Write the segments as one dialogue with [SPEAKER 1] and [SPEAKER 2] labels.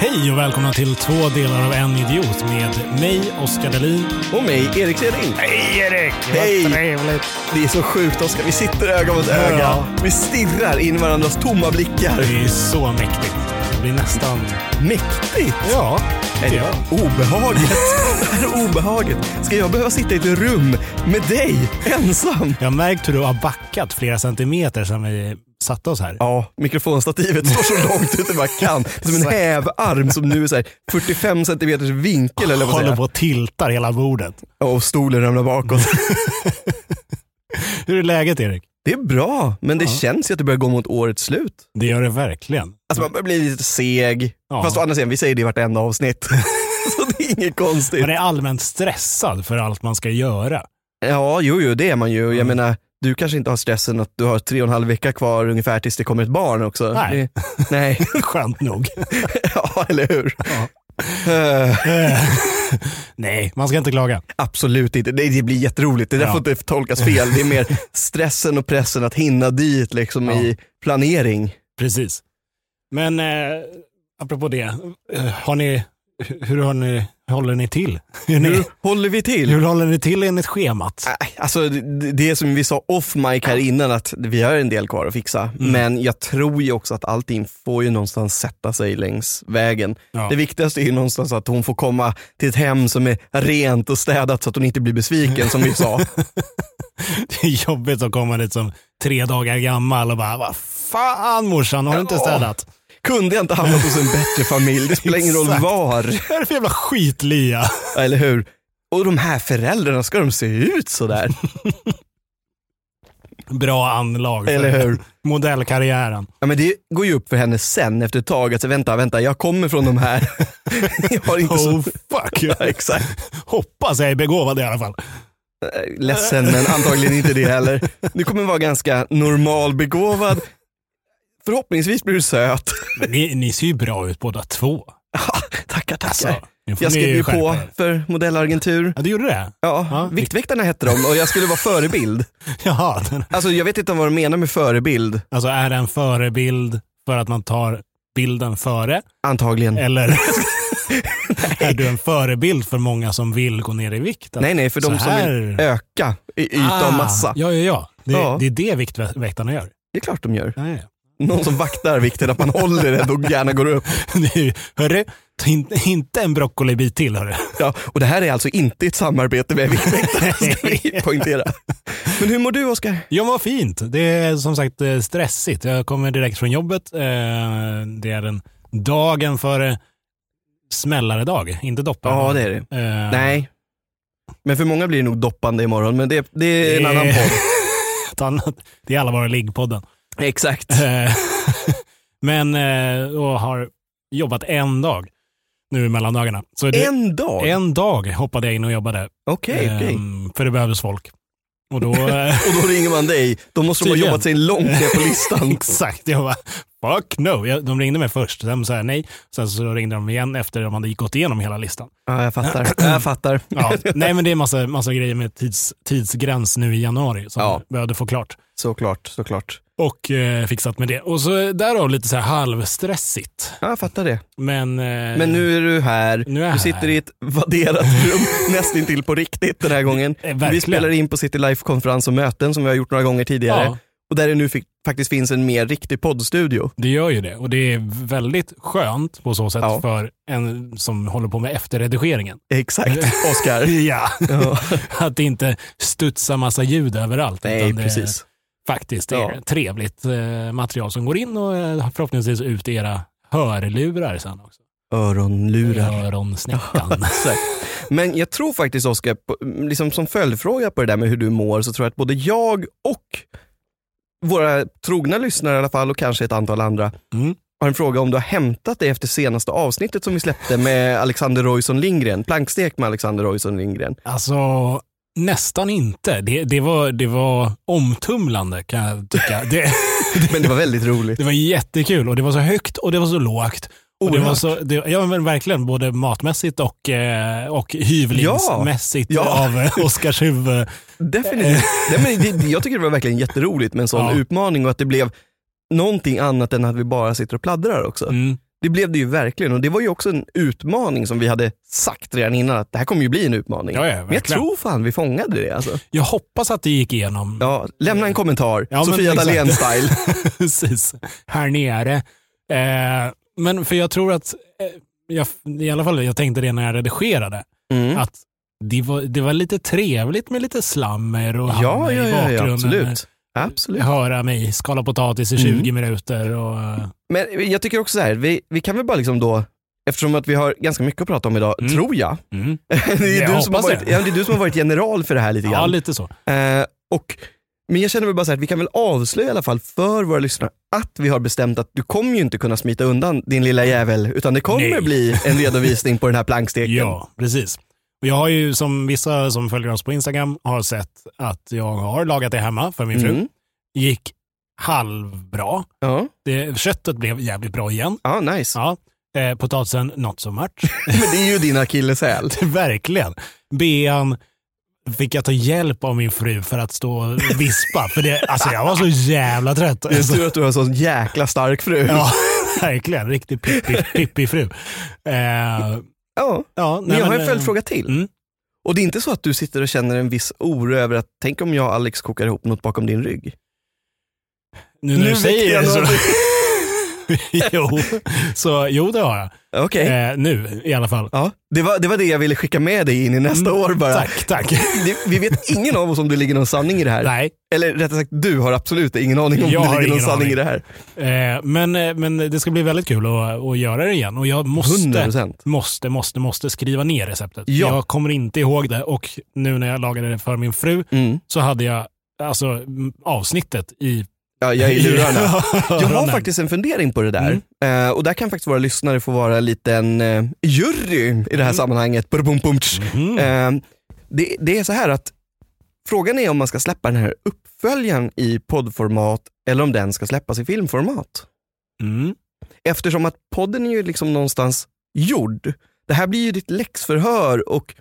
[SPEAKER 1] Hej och välkomna till två delar av en idiot med mig, Oskar Dahlin.
[SPEAKER 2] Och mig, Erik Seding.
[SPEAKER 1] Hej Erik!
[SPEAKER 2] Hej!
[SPEAKER 1] trevligt!
[SPEAKER 2] Det är så sjukt Oskar, vi sitter öga mot öga.
[SPEAKER 1] Ja.
[SPEAKER 2] Vi stirrar in i varandras tomma blickar.
[SPEAKER 1] Det är så mäktigt. Det blir nästan...
[SPEAKER 2] Mäktigt!
[SPEAKER 1] Ja, det
[SPEAKER 2] Eller,
[SPEAKER 1] är jag.
[SPEAKER 2] Obehaget. Det här är obehaget. Ska jag behöva sitta i ett rum med dig, ensam?
[SPEAKER 1] Jag har märkt hur du har backat flera centimeter sedan vi satte oss här.
[SPEAKER 2] Ja, mikrofonstativet står så långt ut det bara kan. Det är som en hävarm som nu är så här 45 centimeters vinkel eller vad
[SPEAKER 1] Håller
[SPEAKER 2] säger
[SPEAKER 1] på och tiltar hela bordet.
[SPEAKER 2] jag? Och stolen ramlar bakåt.
[SPEAKER 1] Hur är läget Erik?
[SPEAKER 2] Det är bra, men det känns ju att det börjar gå mot årets slut.
[SPEAKER 1] Det gör det verkligen.
[SPEAKER 2] Alltså man börjar bli lite seg.
[SPEAKER 1] Ja.
[SPEAKER 2] Fast å andra sidan, vi säger det i vartenda avsnitt. så det är inget konstigt.
[SPEAKER 1] Man är allmänt stressad för allt man ska göra.
[SPEAKER 2] Ja, jo, jo, det är man ju. Jag
[SPEAKER 1] Mm.
[SPEAKER 2] menar, du kanske inte har stressen att du har tre och en halv vecka kvar ungefär tills det kommer ett barn också.
[SPEAKER 1] Nej.
[SPEAKER 2] Det, nej.
[SPEAKER 1] Skönt nog.
[SPEAKER 2] ja, eller hur?
[SPEAKER 1] Ja.
[SPEAKER 2] Eh,
[SPEAKER 1] Eh, Nej, man ska inte klaga.
[SPEAKER 2] absolut inte. Det, det blir jätteroligt. Det där
[SPEAKER 1] Ja.
[SPEAKER 2] får inte tolkas fel. Det är mer stressen och pressen att hinna dit liksom
[SPEAKER 1] Ja.
[SPEAKER 2] i planering.
[SPEAKER 1] Precis. Men eh, apropå det, eh, har ni, hur har ni, håller ni till? Hur, ni,
[SPEAKER 2] Hur håller vi till?
[SPEAKER 1] hur håller ni till enligt schemat?
[SPEAKER 2] Nej, Alltså det, det är som vi sa off mic här innan att vi har en del kvar att fixa.
[SPEAKER 1] Mm.
[SPEAKER 2] Men jag tror ju också att allting får ju någonstans sätta sig längs vägen.
[SPEAKER 1] Ja.
[SPEAKER 2] Det viktigaste är ju någonstans att hon får komma till ett hem som är rent och städat så att hon inte blir besviken som vi sa.
[SPEAKER 1] Det är jobbigt att komma dit som tre dagar gammal och bara, vad fan morsan, har du inte
[SPEAKER 2] Ja.
[SPEAKER 1] städat?
[SPEAKER 2] Kunde jag inte hamnat hos en bättre familj? Det spelar ingen roll
[SPEAKER 1] Exakt.
[SPEAKER 2] var.
[SPEAKER 1] Vad är det för jävla skitlia?
[SPEAKER 2] Eller hur? Och de här föräldrarna, ska de se ut sådär?
[SPEAKER 1] Bra anlag för
[SPEAKER 2] Eller hur?
[SPEAKER 1] modellkarriären.
[SPEAKER 2] Ja, men det går ju upp för henne sen efter ett tag. Alltså, vänta, vänta, jag kommer från de här. Jag har inte
[SPEAKER 1] Oh
[SPEAKER 2] så...
[SPEAKER 1] fuck.
[SPEAKER 2] Ja, exakt.
[SPEAKER 1] Hoppas jag är begåvad i alla fall.
[SPEAKER 2] Ledsen men antagligen inte det heller. Du kommer vara ganska normalbegåvad. Förhoppningsvis blir du söt.
[SPEAKER 1] Men ni, ni ser ju bra ut båda två.
[SPEAKER 2] tackar, tackar.
[SPEAKER 1] Alltså, nu får
[SPEAKER 2] jag
[SPEAKER 1] ni
[SPEAKER 2] skrev ju
[SPEAKER 1] skärpa
[SPEAKER 2] på
[SPEAKER 1] er.
[SPEAKER 2] för modellagentur.
[SPEAKER 1] Ja, du gjorde det?
[SPEAKER 2] Ja,
[SPEAKER 1] Ja.
[SPEAKER 2] Viktväktarna hette de och jag skulle vara förebild.
[SPEAKER 1] Jaha, den
[SPEAKER 2] Alltså jag vet inte vad de menar med förebild.
[SPEAKER 1] Alltså är det en förebild för att man tar bilden före?
[SPEAKER 2] Antagligen.
[SPEAKER 1] Eller är du en förebild för många som vill gå ner i vikt? Att-
[SPEAKER 2] Nej, nej, för de
[SPEAKER 1] så
[SPEAKER 2] som vill
[SPEAKER 1] här- Ah.
[SPEAKER 2] öka i yta och massa.
[SPEAKER 1] Ja, ja, ja. Det,
[SPEAKER 2] Ja.
[SPEAKER 1] det är det Viktväktarna gör.
[SPEAKER 2] Det är klart de gör.
[SPEAKER 1] Ja, ja.
[SPEAKER 2] Någon som vaktar vikten att man håller det och gärna går upp.
[SPEAKER 1] Det är ju- Hörru, ta in, inte en broccolibit till hörru.
[SPEAKER 2] Ja, och det här är alltså inte ett samarbete med Viktväktarna, ska vi poängtera. Men hur mår du Oskar?
[SPEAKER 1] Ja, vad fint. Det är som sagt eh, stressigt. Jag kommer direkt från jobbet. Eh, Det är den dagen före smällaredag, inte dopparen.
[SPEAKER 2] Ja, det är det.
[SPEAKER 1] Eh,
[SPEAKER 2] Nej. Men för många blir det nog doppande imorgon, men det, det är en
[SPEAKER 1] Det-
[SPEAKER 2] annan podd.
[SPEAKER 1] ett annat. Det är alla våra liggpodden.
[SPEAKER 2] Exakt.
[SPEAKER 1] Eh, Men eh, och har jobbat en dag nu i mellandagarna. Så det,
[SPEAKER 2] En dag?
[SPEAKER 1] en dag hoppade jag in och jobbade.
[SPEAKER 2] Okej, okej.
[SPEAKER 1] Ehm, För det behövdes folk. Och då, eh,
[SPEAKER 2] Och då ringer man dig, då måste de ha
[SPEAKER 1] Tydligen.
[SPEAKER 2] jobbat sig långt ner på listan.
[SPEAKER 1] exakt, jag bara fuck no. Jag, de ringde mig först, sen sa jag nej. Sen så ringde de igen efter de hade gått igenom hela listan.
[SPEAKER 2] Ja, jag fattar. Jag fattar.
[SPEAKER 1] Ja, nej men det är massa, massa grejer med tids, tidsgräns nu i januari som
[SPEAKER 2] Ja.
[SPEAKER 1] jag behövde få klart.
[SPEAKER 2] Såklart, såklart.
[SPEAKER 1] Och eh, fixat med det. Och så därav lite så här halvstressigt.
[SPEAKER 2] Ja, jag fattar det.
[SPEAKER 1] Men, eh,
[SPEAKER 2] Men nu är du här.
[SPEAKER 1] Nu är jag
[SPEAKER 2] du sitter
[SPEAKER 1] här.
[SPEAKER 2] i ett vadderat rum, nästintill på riktigt den här gången.
[SPEAKER 1] Eh, verkligen.
[SPEAKER 2] Vi spelar in på City Life-konferens och möten som vi har gjort några gånger tidigare.
[SPEAKER 1] Ja.
[SPEAKER 2] Och där det nu fick, faktiskt finns en mer riktig poddstudio.
[SPEAKER 1] Det gör ju det och det är väldigt skönt på så sätt
[SPEAKER 2] Ja.
[SPEAKER 1] för en som håller på med efterredigeringen.
[SPEAKER 2] Exakt, Oskar.
[SPEAKER 1] Ja.
[SPEAKER 2] Ja.
[SPEAKER 1] Att det inte studsar massa ljud överallt.
[SPEAKER 2] Nej,
[SPEAKER 1] utan det
[SPEAKER 2] precis.
[SPEAKER 1] Är, faktiskt det
[SPEAKER 2] Ja.
[SPEAKER 1] är trevligt eh, material som går in och eh, förhoppningsvis ut i era hörlurar sen också.
[SPEAKER 2] Öronlurar.
[SPEAKER 1] Öronsnäckan.
[SPEAKER 2] Exakt. Men jag tror faktiskt Oskar, på- liksom som följdfråga på det där med hur du mår, så tror jag att både jag och våra trogna lyssnare i alla fall och kanske ett antal andra
[SPEAKER 1] Mm.
[SPEAKER 2] har en fråga om du har hämtat dig efter senaste avsnittet som vi släppte med Alexander Roysson Lindgren, plankstek med Alexander Roysson Lindgren.
[SPEAKER 1] Alltså, nästan inte. Det, det, var, det var omtumlande kan jag tycka. Det,
[SPEAKER 2] Men det var väldigt roligt.
[SPEAKER 1] Det var jättekul och det var så högt och det var så lågt. Och det
[SPEAKER 2] Oerhört.
[SPEAKER 1] var så, det, ja men verkligen, både matmässigt och, eh, och hyvlingsmässigt
[SPEAKER 2] Ja. Ja.
[SPEAKER 1] av eh, Oskars huvud.
[SPEAKER 2] Definitivt. Nej, men det, jag tycker det var verkligen jätteroligt med en sån
[SPEAKER 1] Ja.
[SPEAKER 2] utmaning och att det blev någonting annat än att vi bara sitter och pladdrar också.
[SPEAKER 1] Mm.
[SPEAKER 2] Det blev det ju verkligen och det var ju också en utmaning som vi hade sagt redan innan att det här kommer ju bli en utmaning.
[SPEAKER 1] Ja, ja,
[SPEAKER 2] men jag
[SPEAKER 1] verkligen.
[SPEAKER 2] tror fan vi fångade det alltså.
[SPEAKER 1] Jag hoppas att det gick igenom.
[SPEAKER 2] Ja, lämna en kommentar,
[SPEAKER 1] Ja, men
[SPEAKER 2] Sofia
[SPEAKER 1] exakt.
[SPEAKER 2] Dalén-style.
[SPEAKER 1] Precis, här nere. Eh, men för jag tror att, eh, jag, i alla fall jag tänkte det när jag redigerade,
[SPEAKER 2] Mm.
[SPEAKER 1] att det var, det var lite trevligt med lite slammer och
[SPEAKER 2] Ja,
[SPEAKER 1] hammer
[SPEAKER 2] ja,
[SPEAKER 1] i
[SPEAKER 2] ja,
[SPEAKER 1] bakgrunden.
[SPEAKER 2] ja, absolut. Mm. absolut.
[SPEAKER 1] Höra mig skala potatis i 20 minuter. Och, eh,
[SPEAKER 2] Men jag tycker också så här, vi, vi kan väl bara liksom då, eftersom att vi har ganska mycket att prata om idag,
[SPEAKER 1] Mm.
[SPEAKER 2] tror jag.
[SPEAKER 1] mm.
[SPEAKER 2] Det är,
[SPEAKER 1] Jag
[SPEAKER 2] du som har
[SPEAKER 1] hoppas
[SPEAKER 2] varit,
[SPEAKER 1] det.
[SPEAKER 2] ja, det är du som har varit general för det här lite grann.
[SPEAKER 1] Ja, lite så.
[SPEAKER 2] Eh, och, men jag känner väl bara så här, att vi kan väl avslöja i alla fall för våra lyssnare att vi har bestämt att du kommer ju inte kunna smita undan din lilla jävel, utan det kommer
[SPEAKER 1] Nej.
[SPEAKER 2] bli en redovisning på den här planksteken.
[SPEAKER 1] Ja, precis. Och jag har ju, som vissa som följer oss på Instagram har sett, att jag har lagat det hemma för min fru.
[SPEAKER 2] Mm.
[SPEAKER 1] Gick halvbra.
[SPEAKER 2] Ja,
[SPEAKER 1] Det, köttet blev jävligt bra igen.
[SPEAKER 2] ja nice.
[SPEAKER 1] Ja. Eh, potatisen, not so much.
[SPEAKER 2] Men det är ju din akilleshäl.
[SPEAKER 1] Verkligen. Bean fick jag ta hjälp av min fru för att stå och vispa. För det, alltså jag var så jävla trött.
[SPEAKER 2] Det är
[SPEAKER 1] Alltså,
[SPEAKER 2] tur att du har en sån jäkla stark fru.
[SPEAKER 1] ja, verkligen. Riktig pippi, pippi fru. Eh,
[SPEAKER 2] Ja.
[SPEAKER 1] ja,
[SPEAKER 2] Men
[SPEAKER 1] nej,
[SPEAKER 2] jag har en
[SPEAKER 1] eh,
[SPEAKER 2] följdfråga till.
[SPEAKER 1] Mm.
[SPEAKER 2] Och det är inte så att du sitter och känner en viss oro över att tänk om jag och Alex kokar ihop något bakom din rygg?
[SPEAKER 1] Nu när du säger det så.
[SPEAKER 2] något.
[SPEAKER 1] jo, så, jo, det har jag.
[SPEAKER 2] Okej,
[SPEAKER 1] Eh, nu i alla fall.
[SPEAKER 2] ja. det, var, det var det jag ville skicka med dig in i nästa år bara.
[SPEAKER 1] Mm. Tack, tack.
[SPEAKER 2] Det, vi vet ingen av oss om det ligger någon sanning i det här.
[SPEAKER 1] nej,
[SPEAKER 2] Eller rättare sagt, du har absolut ingen aning om
[SPEAKER 1] Jag
[SPEAKER 2] det
[SPEAKER 1] har
[SPEAKER 2] ligger någon
[SPEAKER 1] ingen
[SPEAKER 2] sanning
[SPEAKER 1] aning.
[SPEAKER 2] i det här.
[SPEAKER 1] eh, men, eh, men det ska bli väldigt kul att, att göra det igen. Och jag måste,
[SPEAKER 2] 100%.
[SPEAKER 1] måste, måste, måste skriva ner receptet.
[SPEAKER 2] Ja.
[SPEAKER 1] Jag kommer inte ihåg det och nu när jag lagade det för min fru
[SPEAKER 2] Mm.
[SPEAKER 1] så hade jag alltså, m- avsnittet i
[SPEAKER 2] Ja, jag är i lurarna. Jag har
[SPEAKER 1] öronen.
[SPEAKER 2] faktiskt en fundering på det där.
[SPEAKER 1] Mm.
[SPEAKER 2] Eh, och där kan faktiskt våra lyssnare få vara en liten eh, jury i det här
[SPEAKER 1] Mm.
[SPEAKER 2] sammanhanget. Bum, bum, tsch.
[SPEAKER 1] Mhm.
[SPEAKER 2] Eh, det, det är så här att frågan är om man ska släppa den här uppföljaren i poddformat eller om den ska släppas i filmformat.
[SPEAKER 1] Mm.
[SPEAKER 2] Eftersom att podden är ju liksom någonstans gjord. Det här blir ju ditt läxförhör och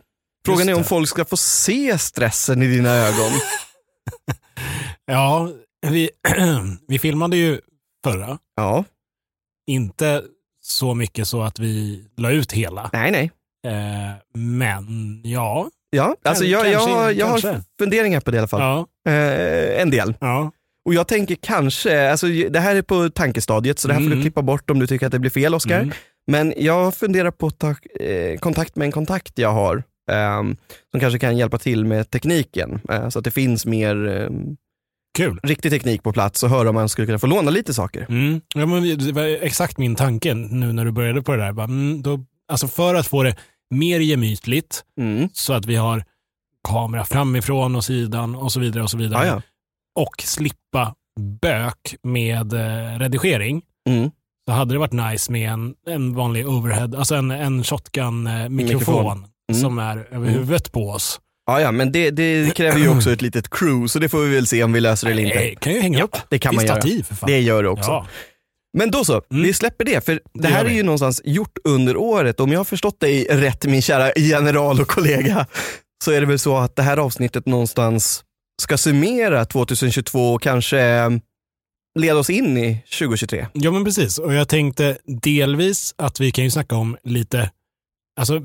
[SPEAKER 2] frågan
[SPEAKER 1] Just
[SPEAKER 2] är om
[SPEAKER 1] det.
[SPEAKER 2] folk ska få se stressen i dina ögon.
[SPEAKER 1] Ja, vi, vi filmade ju förra.
[SPEAKER 2] Ja,
[SPEAKER 1] Inte så mycket så att vi la ut hela.
[SPEAKER 2] nej nej.
[SPEAKER 1] Eh, men ja.
[SPEAKER 2] Ja, alltså jag, jag,
[SPEAKER 1] Kanske,
[SPEAKER 2] har- jag har
[SPEAKER 1] kanske.
[SPEAKER 2] funderingar på det i alla fall.
[SPEAKER 1] ja,
[SPEAKER 2] Eh, en del.
[SPEAKER 1] ja.
[SPEAKER 2] Och jag tänker kanske, alltså det här är på tankestadiet så det här får du
[SPEAKER 1] Mm.
[SPEAKER 2] klippa bort om du tycker att det blir fel Oscar.
[SPEAKER 1] Mm.
[SPEAKER 2] Men jag funderar på att ta eh, kontakt med en kontakt jag har ehm, som kanske kan hjälpa till med tekniken eh, så att det finns mer eh,
[SPEAKER 1] Kul.
[SPEAKER 2] riktig teknik på plats och höra om man skulle kunna få låna lite saker.
[SPEAKER 1] Mm. Ja, men det var exakt min tanke nu när du började på det där. Bara, mm, då, alltså för att få det mer gemytligt
[SPEAKER 2] Mm.
[SPEAKER 1] så att vi har kamera framifrån och sidan och så vidare och så vidare.
[SPEAKER 2] Ah, Ja, ja.
[SPEAKER 1] Och slippa bök med eh, redigering
[SPEAKER 2] Mm.
[SPEAKER 1] så hade det varit nice med en, en vanlig overhead, alltså en, en shotgun-mikrofon
[SPEAKER 2] Mikrofon. Mm.
[SPEAKER 1] som är över
[SPEAKER 2] Mm.
[SPEAKER 1] huvudet på oss.
[SPEAKER 2] ja, ja, men det, det kräver ju också ett litet crew så det får vi väl se om vi löser det eller inte.
[SPEAKER 1] Det Eh, kan ju hänga upp
[SPEAKER 2] Det kan
[SPEAKER 1] i
[SPEAKER 2] man göra.
[SPEAKER 1] stativ för fan.
[SPEAKER 2] Det gör det också.
[SPEAKER 1] Ja.
[SPEAKER 2] Men då så, vi släpper det. För det,
[SPEAKER 1] Det
[SPEAKER 2] här
[SPEAKER 1] gör
[SPEAKER 2] är
[SPEAKER 1] vi.
[SPEAKER 2] ju någonstans gjort under året. Om jag har förstått dig rätt min kära general och kollega, så är det väl så att det här avsnittet någonstans ska summera 2022 och kanske eh, leda oss in i 2023.
[SPEAKER 1] Ja men precis, och jag tänkte delvis att vi kan ju snacka om lite, alltså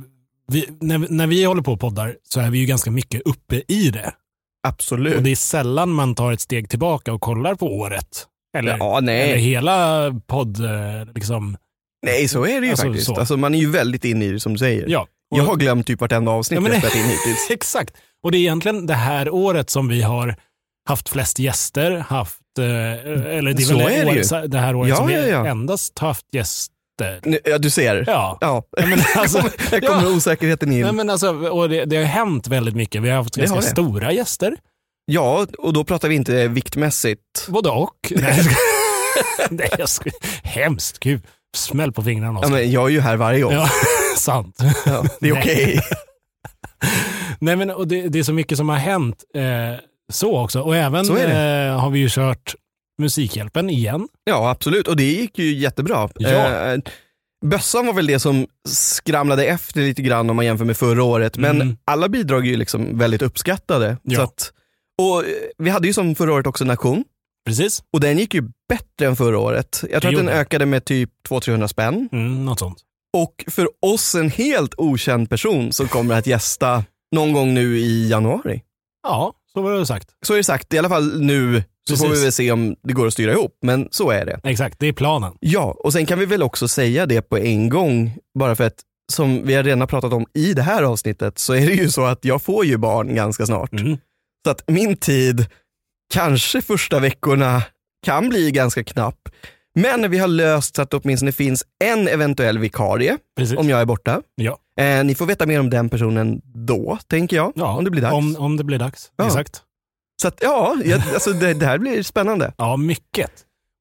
[SPEAKER 1] vi, när, när vi håller på och poddar så är vi ju ganska mycket uppe i det. Och
[SPEAKER 2] Absolut.
[SPEAKER 1] det är sällan man tar ett steg tillbaka och kollar på året. Eller,
[SPEAKER 2] Ja, nej.
[SPEAKER 1] eller hela podd, eh, liksom.
[SPEAKER 2] nej, så är det ju
[SPEAKER 1] Alltså,
[SPEAKER 2] faktiskt.
[SPEAKER 1] så.
[SPEAKER 2] Alltså, man är ju väldigt inne i det som du säger.
[SPEAKER 1] Ja. Och,
[SPEAKER 2] Jag har glömt typ vartenda avsnitt
[SPEAKER 1] Ja, men
[SPEAKER 2] jag
[SPEAKER 1] det-
[SPEAKER 2] spelat in hittills.
[SPEAKER 1] Exakt. Och det är egentligen det här året som vi har haft flest gäster, haft, eh, eller det är
[SPEAKER 2] Så
[SPEAKER 1] väl
[SPEAKER 2] är det ju.
[SPEAKER 1] året, det här året
[SPEAKER 2] Ja,
[SPEAKER 1] som vi
[SPEAKER 2] ja, ja.
[SPEAKER 1] endast har haft gäster.
[SPEAKER 2] Nu- Ja, du ser.
[SPEAKER 1] Ja.
[SPEAKER 2] Ja.
[SPEAKER 1] Men alltså,
[SPEAKER 2] Där kommer osäkerheten in.
[SPEAKER 1] Nej, men alltså, och det, det har hänt väldigt mycket. Vi har haft
[SPEAKER 2] Det
[SPEAKER 1] ganska
[SPEAKER 2] har det.
[SPEAKER 1] stora gäster.
[SPEAKER 2] Ja, och då pratar vi inte viktmässigt.
[SPEAKER 1] Både och. Nej, jag ska- Nej, jag ska... Hemskt. Gud, smäll på fingrarna.
[SPEAKER 2] Ja,
[SPEAKER 1] Oskar.
[SPEAKER 2] men jag är ju här varje år.
[SPEAKER 1] Ja, sant.
[SPEAKER 2] Ja, det är
[SPEAKER 1] Nej.
[SPEAKER 2] okej.
[SPEAKER 1] Nej, men, och det, det är så mycket som har hänt eh, så också. Och även
[SPEAKER 2] Så är
[SPEAKER 1] eh, har vi ju kört Musikhjälpen igen.
[SPEAKER 2] Ja, absolut. Och det gick ju jättebra.
[SPEAKER 1] Ja.
[SPEAKER 2] Eh, bössan var väl det som skramlade efter lite grann om man jämför med förra året. Men
[SPEAKER 1] Mm.
[SPEAKER 2] alla bidrag är ju liksom väldigt uppskattade.
[SPEAKER 1] Ja.
[SPEAKER 2] Så att, och eh, vi hade ju som förra året också en auktion
[SPEAKER 1] Precis,
[SPEAKER 2] Och den gick ju bättre än förra året. Jag tror att den
[SPEAKER 1] gjorde den.
[SPEAKER 2] ökade med typ 200-300 spänn.
[SPEAKER 1] mm, något sånt.
[SPEAKER 2] Och för oss en helt okänd person som kommer att gästa någon gång nu i januari.
[SPEAKER 1] Ja, så var det sagt.
[SPEAKER 2] Så är det sagt, i alla fall nu så får vi
[SPEAKER 1] Precis.
[SPEAKER 2] väl se om det går att styra ihop, men så är det.
[SPEAKER 1] Exakt, det är planen.
[SPEAKER 2] Ja, och sen kan vi väl också säga det på en gång, bara för att som vi har redan pratat om i det här avsnittet så är det ju så att jag får ju barn ganska snart.
[SPEAKER 1] Mm.
[SPEAKER 2] Så att min tid, kanske första veckorna, kan bli ganska knapp. Men vi har löst så att det åtminstone finns en eventuell vikarie
[SPEAKER 1] Precis.
[SPEAKER 2] om jag är borta.
[SPEAKER 1] Ja.
[SPEAKER 2] Eh, ni får veta mer om den personen då, tänker jag.
[SPEAKER 1] Ja,
[SPEAKER 2] om det blir dags.
[SPEAKER 1] Om, om det blir dags.
[SPEAKER 2] Ja.
[SPEAKER 1] Exakt.
[SPEAKER 2] Så att, ja, jag, alltså, det, det här blir spännande.
[SPEAKER 1] Ja, mycket.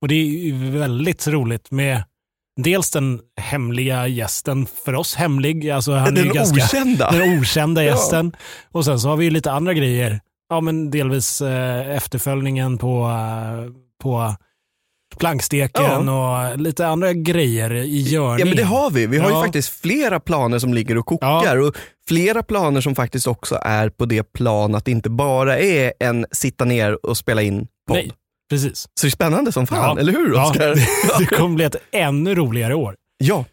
[SPEAKER 1] Och det är ju väldigt roligt med dels den hemliga gästen, för oss hemlig, alltså han är
[SPEAKER 2] Den
[SPEAKER 1] ju ganska...
[SPEAKER 2] okända.
[SPEAKER 1] Den okända
[SPEAKER 2] Ja.
[SPEAKER 1] gästen. Och sen så har vi ju lite andra grejer. Ja, men delvis eh, efterföljningen på, eh, på planksteken och lite andra grejer i görningen.
[SPEAKER 2] Ja men det har vi. Vi har ju
[SPEAKER 1] Ja.
[SPEAKER 2] faktiskt flera planer som ligger och kokar och flera planer som faktiskt också är på det plan att det inte bara är en sitta ner och spela in podd.
[SPEAKER 1] Nej, precis.
[SPEAKER 2] Så det är spännande som fan,
[SPEAKER 1] Ja.
[SPEAKER 2] eller hur
[SPEAKER 1] Ja.
[SPEAKER 2] Oskar?
[SPEAKER 1] Det kommer bli ett ännu roligare år.
[SPEAKER 2] ja.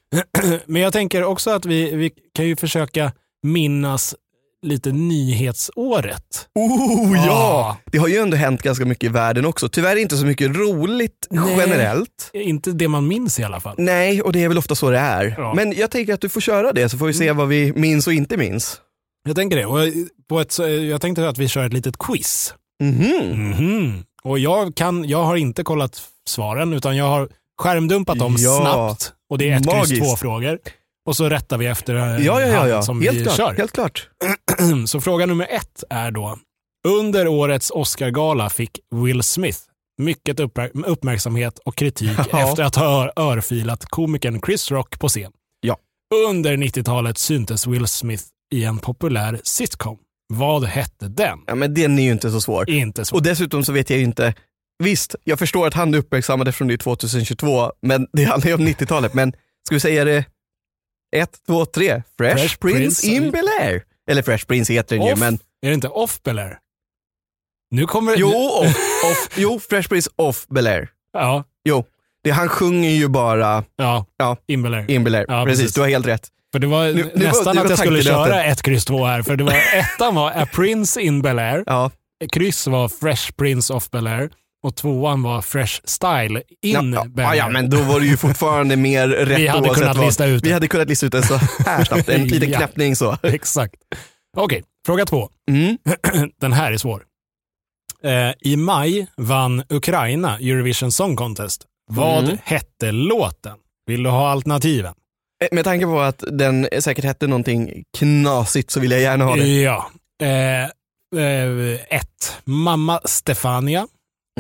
[SPEAKER 1] Men jag tänker också att vi, vi kan ju försöka minnas lite nyhetsåret.
[SPEAKER 2] Oh ja!
[SPEAKER 1] Ja.
[SPEAKER 2] Det har ju ändå hänt ganska mycket i världen också. Tyvärr inte så mycket roligt
[SPEAKER 1] Nej.
[SPEAKER 2] generellt.
[SPEAKER 1] Inte det man minns i alla fall.
[SPEAKER 2] Nej, och det är väl ofta så det är.
[SPEAKER 1] Ja. Mm.
[SPEAKER 2] Men jag tänker att du får köra det så får vi se vad vi minns och inte minns.
[SPEAKER 1] Jag tänker det. Och på ett, jag tänkte att vi kör ett litet quiz.
[SPEAKER 2] Mhm.
[SPEAKER 1] Mhm. Och jag, kan, jag har inte kollat svaren utan jag har skärmdumpat dem
[SPEAKER 2] Ja.
[SPEAKER 1] snabbt. Och det är ett
[SPEAKER 2] Magiskt.
[SPEAKER 1] kryss två frågor. Och så rättar vi efter eh,
[SPEAKER 2] Ja, ja, ja.
[SPEAKER 1] hand
[SPEAKER 2] ja.
[SPEAKER 1] som
[SPEAKER 2] Helt,
[SPEAKER 1] vi
[SPEAKER 2] klart.
[SPEAKER 1] kör.
[SPEAKER 2] Helt klart.
[SPEAKER 1] Mm, Så fråga nummer ett är då. Under årets Oscargala fick Will Smith mycket uppmär- uppmärksamhet och kritik
[SPEAKER 2] Ja.
[SPEAKER 1] efter att ha ör- örfilat komikern Chris Rock på scen.
[SPEAKER 2] Ja.
[SPEAKER 1] Under 90-talet syntes Will Smith i en populär sitcom. Vad hette den?
[SPEAKER 2] Ja, men den är ju inte så svår.
[SPEAKER 1] Inte så.
[SPEAKER 2] Och dessutom så vet jag ju inte, visst, jag förstår att han är uppmärksammad eftersom det är 2022, men det handlar ju om 90-talet. Men ska vi säga det? ett, två, tre. Fresh,
[SPEAKER 1] Fresh
[SPEAKER 2] Prince,
[SPEAKER 1] Prince.
[SPEAKER 2] in Bel Air. Eller Fresh Prince heter den ju,
[SPEAKER 1] Off-
[SPEAKER 2] men
[SPEAKER 1] Är det inte off Bel Air? Nu kommer...
[SPEAKER 2] jo,
[SPEAKER 1] Nu,
[SPEAKER 2] off, off, jo, Fresh Prince off Bel Air.
[SPEAKER 1] ja,
[SPEAKER 2] Jo, det, han sjunger ju bara
[SPEAKER 1] ja,
[SPEAKER 2] Ja.
[SPEAKER 1] in Bel Air.
[SPEAKER 2] in Bel Air.
[SPEAKER 1] Ja,
[SPEAKER 2] precis.
[SPEAKER 1] precis.
[SPEAKER 2] du har helt rätt.
[SPEAKER 1] För det var
[SPEAKER 2] Nu- nu var-
[SPEAKER 1] nästan
[SPEAKER 2] nu var
[SPEAKER 1] att jag skulle
[SPEAKER 2] tanken
[SPEAKER 1] köra ett kryss två här. För det var, ettan var A Prince in Bel Air.
[SPEAKER 2] Ja,
[SPEAKER 1] Kryss var Fresh Prince of Bel Air och tvåan var Fresh Style in
[SPEAKER 2] ja,
[SPEAKER 1] Bel
[SPEAKER 2] ja,
[SPEAKER 1] Air.
[SPEAKER 2] ja, men då var det ju fortfarande mer rätt
[SPEAKER 1] Vi hade
[SPEAKER 2] oavsett
[SPEAKER 1] kunnat
[SPEAKER 2] vad.
[SPEAKER 1] lista ut
[SPEAKER 2] Vi
[SPEAKER 1] det.
[SPEAKER 2] hade kunnat lista ut det så här snabbt. En liten
[SPEAKER 1] Ja.
[SPEAKER 2] knäppning så.
[SPEAKER 1] Exakt. Okej, fråga två.
[SPEAKER 2] Mm.
[SPEAKER 1] Den här är svår. Eh, I maj vann Ukraina Eurovision Song Contest. Vad
[SPEAKER 2] Mm.
[SPEAKER 1] hette låten? Vill du ha alternativen?
[SPEAKER 2] Eh, Med tanke på att den säkert hette någonting knasigt så vill jag gärna ha det.
[SPEAKER 1] Ja. Eh, eh, ett, Mamma Stefania.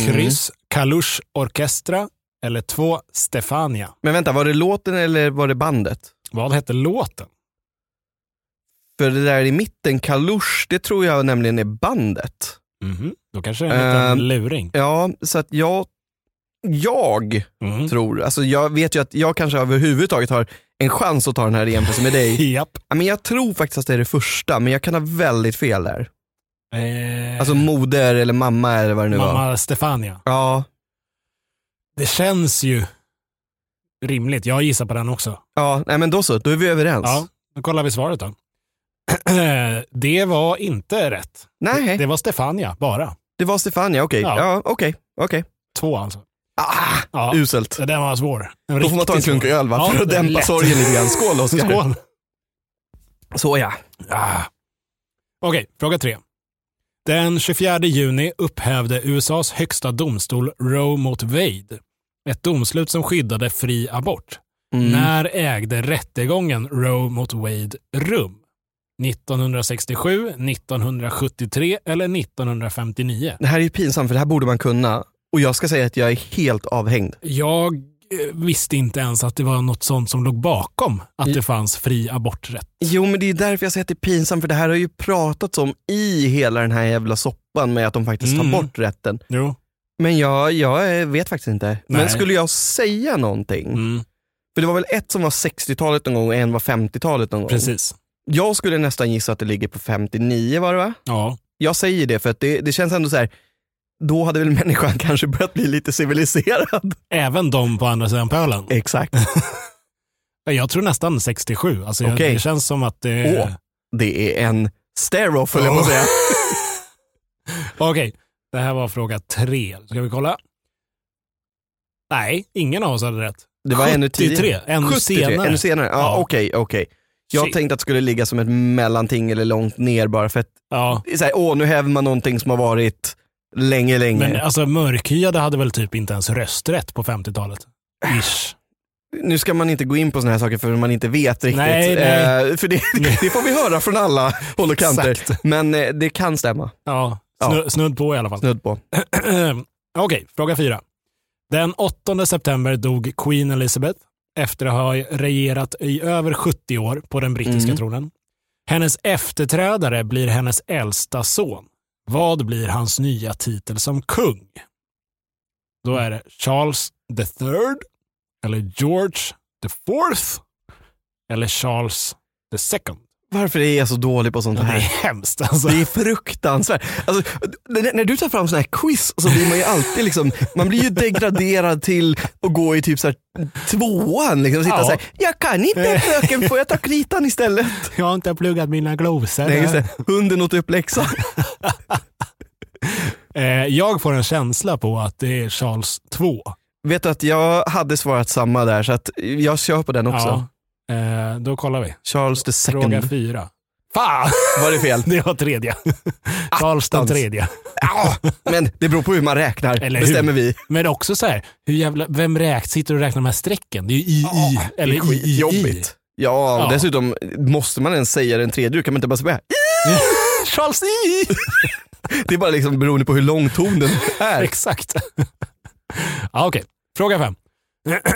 [SPEAKER 2] Mm.
[SPEAKER 1] Kryss, Kalush Orkestra. Eller två, Stefania.
[SPEAKER 2] Men vänta, var det låten eller var det bandet?
[SPEAKER 1] Vad hette låten?
[SPEAKER 2] För det där i mitten, Kalush, det tror jag nämligen är bandet.
[SPEAKER 1] Mhm. Då kanske det är en liten
[SPEAKER 2] Ehm,
[SPEAKER 1] luring.
[SPEAKER 2] Ja, så att jag, jag
[SPEAKER 1] Mm.
[SPEAKER 2] tror, alltså jag vet ju att jag kanske överhuvudtaget har en chans att ta den här i jämförelse med dig.
[SPEAKER 1] Japp.
[SPEAKER 2] Ja, Men jag tror faktiskt att det är det första, men jag kan ha väldigt fel där.
[SPEAKER 1] Eh,
[SPEAKER 2] Alltså moder eller mamma eller vad det nu var.
[SPEAKER 1] mamma Stefania.
[SPEAKER 2] Ja,
[SPEAKER 1] Det känns ju rimligt. Jag gissar på den också.
[SPEAKER 2] ja, nej men då så, då är vi överens.
[SPEAKER 1] Ja, då kollar vi svaret då. det var inte rätt.
[SPEAKER 2] Nej,
[SPEAKER 1] Det var Stefania bara.
[SPEAKER 2] det var Stefania, okej.
[SPEAKER 1] Ja.
[SPEAKER 2] Ja, okej, okej.
[SPEAKER 1] Två alltså.
[SPEAKER 2] Ah,
[SPEAKER 1] Ja,
[SPEAKER 2] uselt.
[SPEAKER 1] så den var svår. Den var
[SPEAKER 2] Då får
[SPEAKER 1] riktigt
[SPEAKER 2] man ta en klunk
[SPEAKER 1] svår.
[SPEAKER 2] öl va,
[SPEAKER 1] Ja,
[SPEAKER 2] för att
[SPEAKER 1] det är
[SPEAKER 2] dämpa
[SPEAKER 1] lätt.
[SPEAKER 2] sorgen lite grann. Skål Oskar.
[SPEAKER 1] Skål.
[SPEAKER 2] Så ja.
[SPEAKER 1] Ah. Okej, fråga tre. Den 24 juni upphävde USAs högsta domstol Roe mot Wade. Ett domslut som skyddade fri abort.
[SPEAKER 2] Mm.
[SPEAKER 1] När ägde rättegången Roe mot Wade rum? 1967, 1973 eller 1959?
[SPEAKER 2] Det här är ju pinsamt för det här borde man kunna. Och jag ska säga att jag är helt avhängd.
[SPEAKER 1] Jag eh, visste inte ens att det var något sånt som låg bakom att det fanns fri aborträtt.
[SPEAKER 2] Jo men det är därför jag säger att det är pinsamt för det här har ju pratats om i hela den här jävla soppan med att de faktiskt tar
[SPEAKER 1] Mm.
[SPEAKER 2] bort rätten.
[SPEAKER 1] Jo.
[SPEAKER 2] Men jag, jag eh, vet faktiskt inte. Men
[SPEAKER 1] Nej.
[SPEAKER 2] skulle jag säga någonting?
[SPEAKER 1] Mm,
[SPEAKER 2] För det var väl ett som var 60-talet någon gång och en var 50-talet någon gång.
[SPEAKER 1] precis.
[SPEAKER 2] Jag skulle nästan gissa att det ligger på 59 var det va?
[SPEAKER 1] Ja.
[SPEAKER 2] Jag säger det för att det, det känns ändå så här. då hade väl människan kanske börjat bli lite civiliserad.
[SPEAKER 1] Även de på andra sidan pölen. Eh,
[SPEAKER 2] Exakt.
[SPEAKER 1] Jag tror nästan 67. Alltså jag,
[SPEAKER 2] Okej.
[SPEAKER 1] Det känns som att det...
[SPEAKER 2] Åh. Det är en stare-off höll jag på att säga.
[SPEAKER 1] Okej, det här var fråga tre. Ska vi kolla? Nej, ingen av oss hade rätt.
[SPEAKER 2] Det var ännu
[SPEAKER 1] 73,
[SPEAKER 2] tidigare.
[SPEAKER 1] ännu
[SPEAKER 2] 73,
[SPEAKER 1] senare.
[SPEAKER 2] Ännu senare, ja
[SPEAKER 1] Ja.
[SPEAKER 2] okej, okej. Jag
[SPEAKER 1] Shit.
[SPEAKER 2] tänkte att det skulle ligga som ett mellanting eller långt ner bara för att,
[SPEAKER 1] Ja,
[SPEAKER 2] det är så här, åh nu häver man någonting som har varit länge, länge.
[SPEAKER 1] men alltså mörkhyade hade väl typ inte ens rösträtt på 50-talet. Ish.
[SPEAKER 2] Nu ska man inte gå in på sådana här saker för man inte vet riktigt.
[SPEAKER 1] Nej, nej.
[SPEAKER 2] Eh, för det,
[SPEAKER 1] Nej.
[SPEAKER 2] det får vi höra från alla håll och kanter.
[SPEAKER 1] Exakt.
[SPEAKER 2] Men eh, det kan stämma,
[SPEAKER 1] Ja, snu, snudd på i alla fall.
[SPEAKER 2] snudd på.
[SPEAKER 1] Okej, fråga fyra. Den 8 september dog Queen Elizabeth efter att ha regerat i över 70 år på den brittiska
[SPEAKER 2] Mm.
[SPEAKER 1] tronen. Hennes efterträdare blir hennes äldsta son. Vad blir hans nya titel som kung? Då är det Charles the third, eller George the fourth, eller Charles the second.
[SPEAKER 2] Varför är jag så dålig på sånt
[SPEAKER 1] Det är
[SPEAKER 2] här?
[SPEAKER 1] hemskt alltså.
[SPEAKER 2] Det är fruktansvärt. Alltså, när, när du tar fram sådana här quiz så blir man ju alltid liksom, man blir ju degraderad till att gå i typ så här tvåan. Liksom, och sitta
[SPEAKER 1] Ja.
[SPEAKER 2] så här, jag kan inte fröken, får jag ta kritan istället?
[SPEAKER 1] Jag har inte pluggat mina glosor.
[SPEAKER 2] Nej, just det. Hunden åt upp läxan.
[SPEAKER 1] Eh, jag får en känsla på att det är Charles II.
[SPEAKER 2] Vet du att jag hade svarat samma där så att jag kör på den också.
[SPEAKER 1] Ja. Eh, då kollar vi.
[SPEAKER 2] Charles the
[SPEAKER 1] Fråga
[SPEAKER 2] second.
[SPEAKER 1] fyra. Fan,
[SPEAKER 2] Var det fel?
[SPEAKER 1] det var tredje. Charles den
[SPEAKER 2] Attans.
[SPEAKER 1] tredje.
[SPEAKER 2] Ja, men det beror på hur man räknar,
[SPEAKER 1] Eller hur?
[SPEAKER 2] bestämmer vi.
[SPEAKER 1] Men också så här, hur jävla, vem räk, sitter och räknar de här strecken? Det är ju i, i eller i, i, i.
[SPEAKER 2] Jobbigt. Ja,
[SPEAKER 1] Ja.
[SPEAKER 2] dessutom måste man ens säga den tredje, kan man inte bara säga
[SPEAKER 1] Charles i.
[SPEAKER 2] Det är bara liksom beroende på hur lång ton den är.
[SPEAKER 1] Exakt. ja, Okej, fråga fem.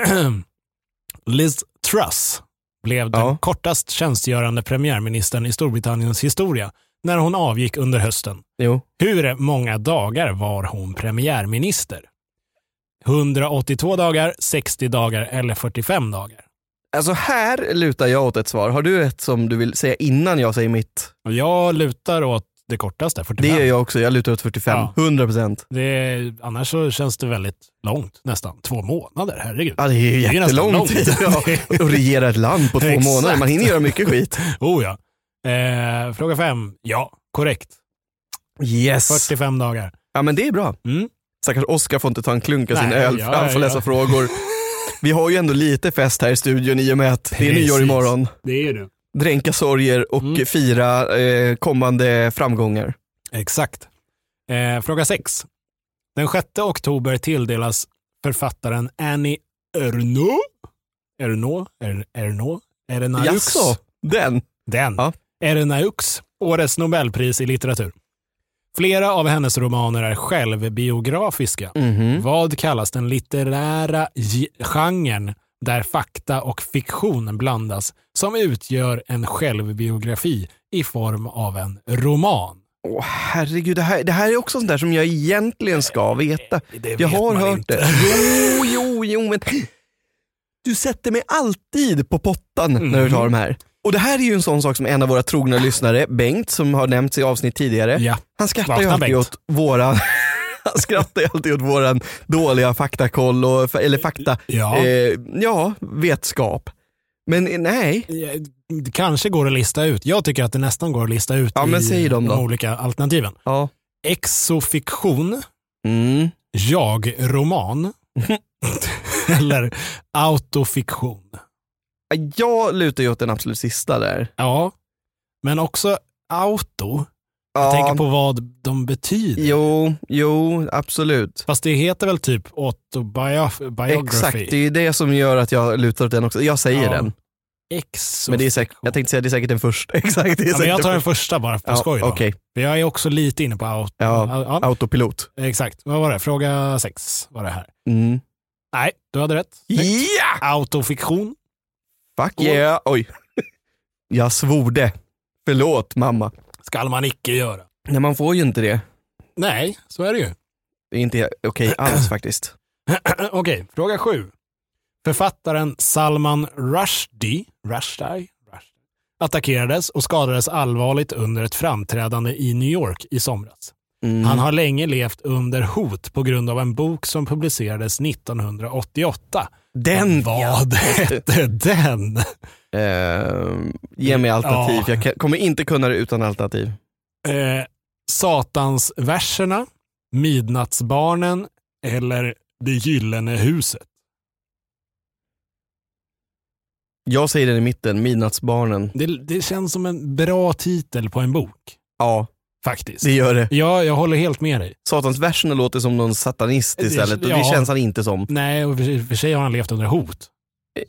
[SPEAKER 1] Liz Truss blev den
[SPEAKER 2] Ja.
[SPEAKER 1] kortast tjänstgörande premiärministern i Storbritanniens historia när hon avgick under hösten.
[SPEAKER 2] Jo.
[SPEAKER 1] Hur många dagar var hon premiärminister? 182 dagar, 60 dagar eller 45 dagar?
[SPEAKER 2] Alltså här lutar jag åt ett svar. Har du ett som du vill säga innan jag säger mitt?
[SPEAKER 1] Och Jag lutar åt det kortaste, 45.
[SPEAKER 2] Det gör jag också. Jag lutar åt 45.
[SPEAKER 1] Ja.
[SPEAKER 2] 100 procent.
[SPEAKER 1] Det, annars så känns det väldigt långt, nästan två månader, herregud.
[SPEAKER 2] Ja, det är ju
[SPEAKER 1] Det är ju nästan
[SPEAKER 2] jättelång tid. Ja.
[SPEAKER 1] långt.
[SPEAKER 2] Att regera ett land på två
[SPEAKER 1] Exakt.
[SPEAKER 2] månader. Man hinner göra mycket skit.
[SPEAKER 1] oh ja. Eh, fråga fem, ja, korrekt.
[SPEAKER 2] Yes.
[SPEAKER 1] 45 dagar.
[SPEAKER 2] Ja, men det är bra.
[SPEAKER 1] Mm.
[SPEAKER 2] Stackars Oskar får inte ta en klunk av sin
[SPEAKER 1] Nej,
[SPEAKER 2] öl
[SPEAKER 1] ja,
[SPEAKER 2] för han får
[SPEAKER 1] ja.
[SPEAKER 2] läsa frågor. Vi har ju ändå lite fest här i studion i och med att det är
[SPEAKER 1] Precis.
[SPEAKER 2] nyår imorgon.
[SPEAKER 1] Det är du.
[SPEAKER 2] Dränka sorger och
[SPEAKER 1] Mm.
[SPEAKER 2] fira eh, kommande framgångar.
[SPEAKER 1] Exakt. Eh, fråga 6. Den 6 oktober tilldelas författaren Annie Ernaux Ernaux? Er- Ernaux? Ernaux?
[SPEAKER 2] Jaså, den?
[SPEAKER 1] Den.
[SPEAKER 2] Ja.
[SPEAKER 1] Ernaux, årets Nobelpris i litteratur. Flera av hennes romaner är självbiografiska.
[SPEAKER 2] Mhm.
[SPEAKER 1] Vad kallas den litterära ge- genren där fakta och fiktion blandas som utgör en självbiografi i form av en roman?
[SPEAKER 2] Åh, herregud, det här, det här är också sånt där som jag egentligen ska veta.
[SPEAKER 1] Det
[SPEAKER 2] Jag
[SPEAKER 1] vet
[SPEAKER 2] har
[SPEAKER 1] man
[SPEAKER 2] hört
[SPEAKER 1] inte.
[SPEAKER 2] det. Jo, jo, jo, men du sätter mig alltid på pottan när
[SPEAKER 1] Mm.
[SPEAKER 2] du tar de här. Och det här är ju en sån sak som en av våra trogna lyssnare, Bengt, som har nämnts i avsnitt tidigare.
[SPEAKER 1] Ja.
[SPEAKER 2] Han skrattar ju
[SPEAKER 1] Vakna,
[SPEAKER 2] alltid
[SPEAKER 1] Bengt.
[SPEAKER 2] åt våran han skrattar ju alltid åt våran dåliga faktakoll, och, eller fakta,
[SPEAKER 1] Ja.
[SPEAKER 2] Eh, ja, vetskap. Men eh, nej,
[SPEAKER 1] Eh, det kanske går att lista ut. Jag tycker att det nästan går att lista ut
[SPEAKER 2] Ja, men
[SPEAKER 1] i
[SPEAKER 2] säg dem
[SPEAKER 1] de
[SPEAKER 2] då.
[SPEAKER 1] olika alternativen.
[SPEAKER 2] ja.
[SPEAKER 1] Exofiktion,
[SPEAKER 2] Mm.
[SPEAKER 1] jag-roman eller autofiktion.
[SPEAKER 2] Jag lutar ju åt den absolut sista där.
[SPEAKER 1] Ja, men också auto.
[SPEAKER 2] Ja,
[SPEAKER 1] Jag tänker på vad de betyder.
[SPEAKER 2] Jo, jo, absolut.
[SPEAKER 1] Fast det heter väl typ autobiography?
[SPEAKER 2] Exakt, det är ju det som gör att jag lutar åt den också. Jag säger
[SPEAKER 1] Ja,
[SPEAKER 2] den.
[SPEAKER 1] Exo.
[SPEAKER 2] Men det är säkert, jag tänkte säga det är säkert den första. Exakt, det är
[SPEAKER 1] ja, men
[SPEAKER 2] säkert
[SPEAKER 1] jag tar den
[SPEAKER 2] första.
[SPEAKER 1] första bara på
[SPEAKER 2] Ja,
[SPEAKER 1] skoj. då.
[SPEAKER 2] Okej,
[SPEAKER 1] För jag är också lite inne på auto.
[SPEAKER 2] Ja.
[SPEAKER 1] Ja,
[SPEAKER 2] autopilot.
[SPEAKER 1] exakt. Vad var det? Fråga sex var det här.
[SPEAKER 2] Mm.
[SPEAKER 1] Nej, du hade rätt.
[SPEAKER 2] Ja!
[SPEAKER 1] Autofiktion.
[SPEAKER 2] Fuck yeah! Oj. Jag svorde. Förlåt mamma.
[SPEAKER 1] Skall man icke göra.
[SPEAKER 2] Nej, man får ju inte det.
[SPEAKER 1] Nej, så är det ju.
[SPEAKER 2] Det är inte okej alls faktiskt.
[SPEAKER 1] Okej, fråga sju. Författaren Salman Rushdie, Rushdie, Rushdie attackerades och skadades allvarligt under ett framträdande i New York i somras.
[SPEAKER 2] Mm.
[SPEAKER 1] Han har länge levt under hot på grund av en bok som publicerades 1988.
[SPEAKER 2] Den!
[SPEAKER 1] Vad hette den?
[SPEAKER 2] Eh, ge mig alternativ.
[SPEAKER 1] Ja.
[SPEAKER 2] Jag kan, kommer inte kunna det utan alternativ.
[SPEAKER 1] Eh, Satansverserna, Midnattsbarnen eller Det gyllene huset?
[SPEAKER 2] Jag säger den i mitten, Midnattsbarnen.
[SPEAKER 1] Det, det känns som en bra titel på en bok,
[SPEAKER 2] Ja,
[SPEAKER 1] faktiskt.
[SPEAKER 2] det gör det.
[SPEAKER 1] Ja, jag håller helt med dig.
[SPEAKER 2] Satansverserna låter som någon satanist
[SPEAKER 1] Det-
[SPEAKER 2] istället och det
[SPEAKER 1] ja.
[SPEAKER 2] känns han inte som.
[SPEAKER 1] Nej, och för, för sig har han levt under hot.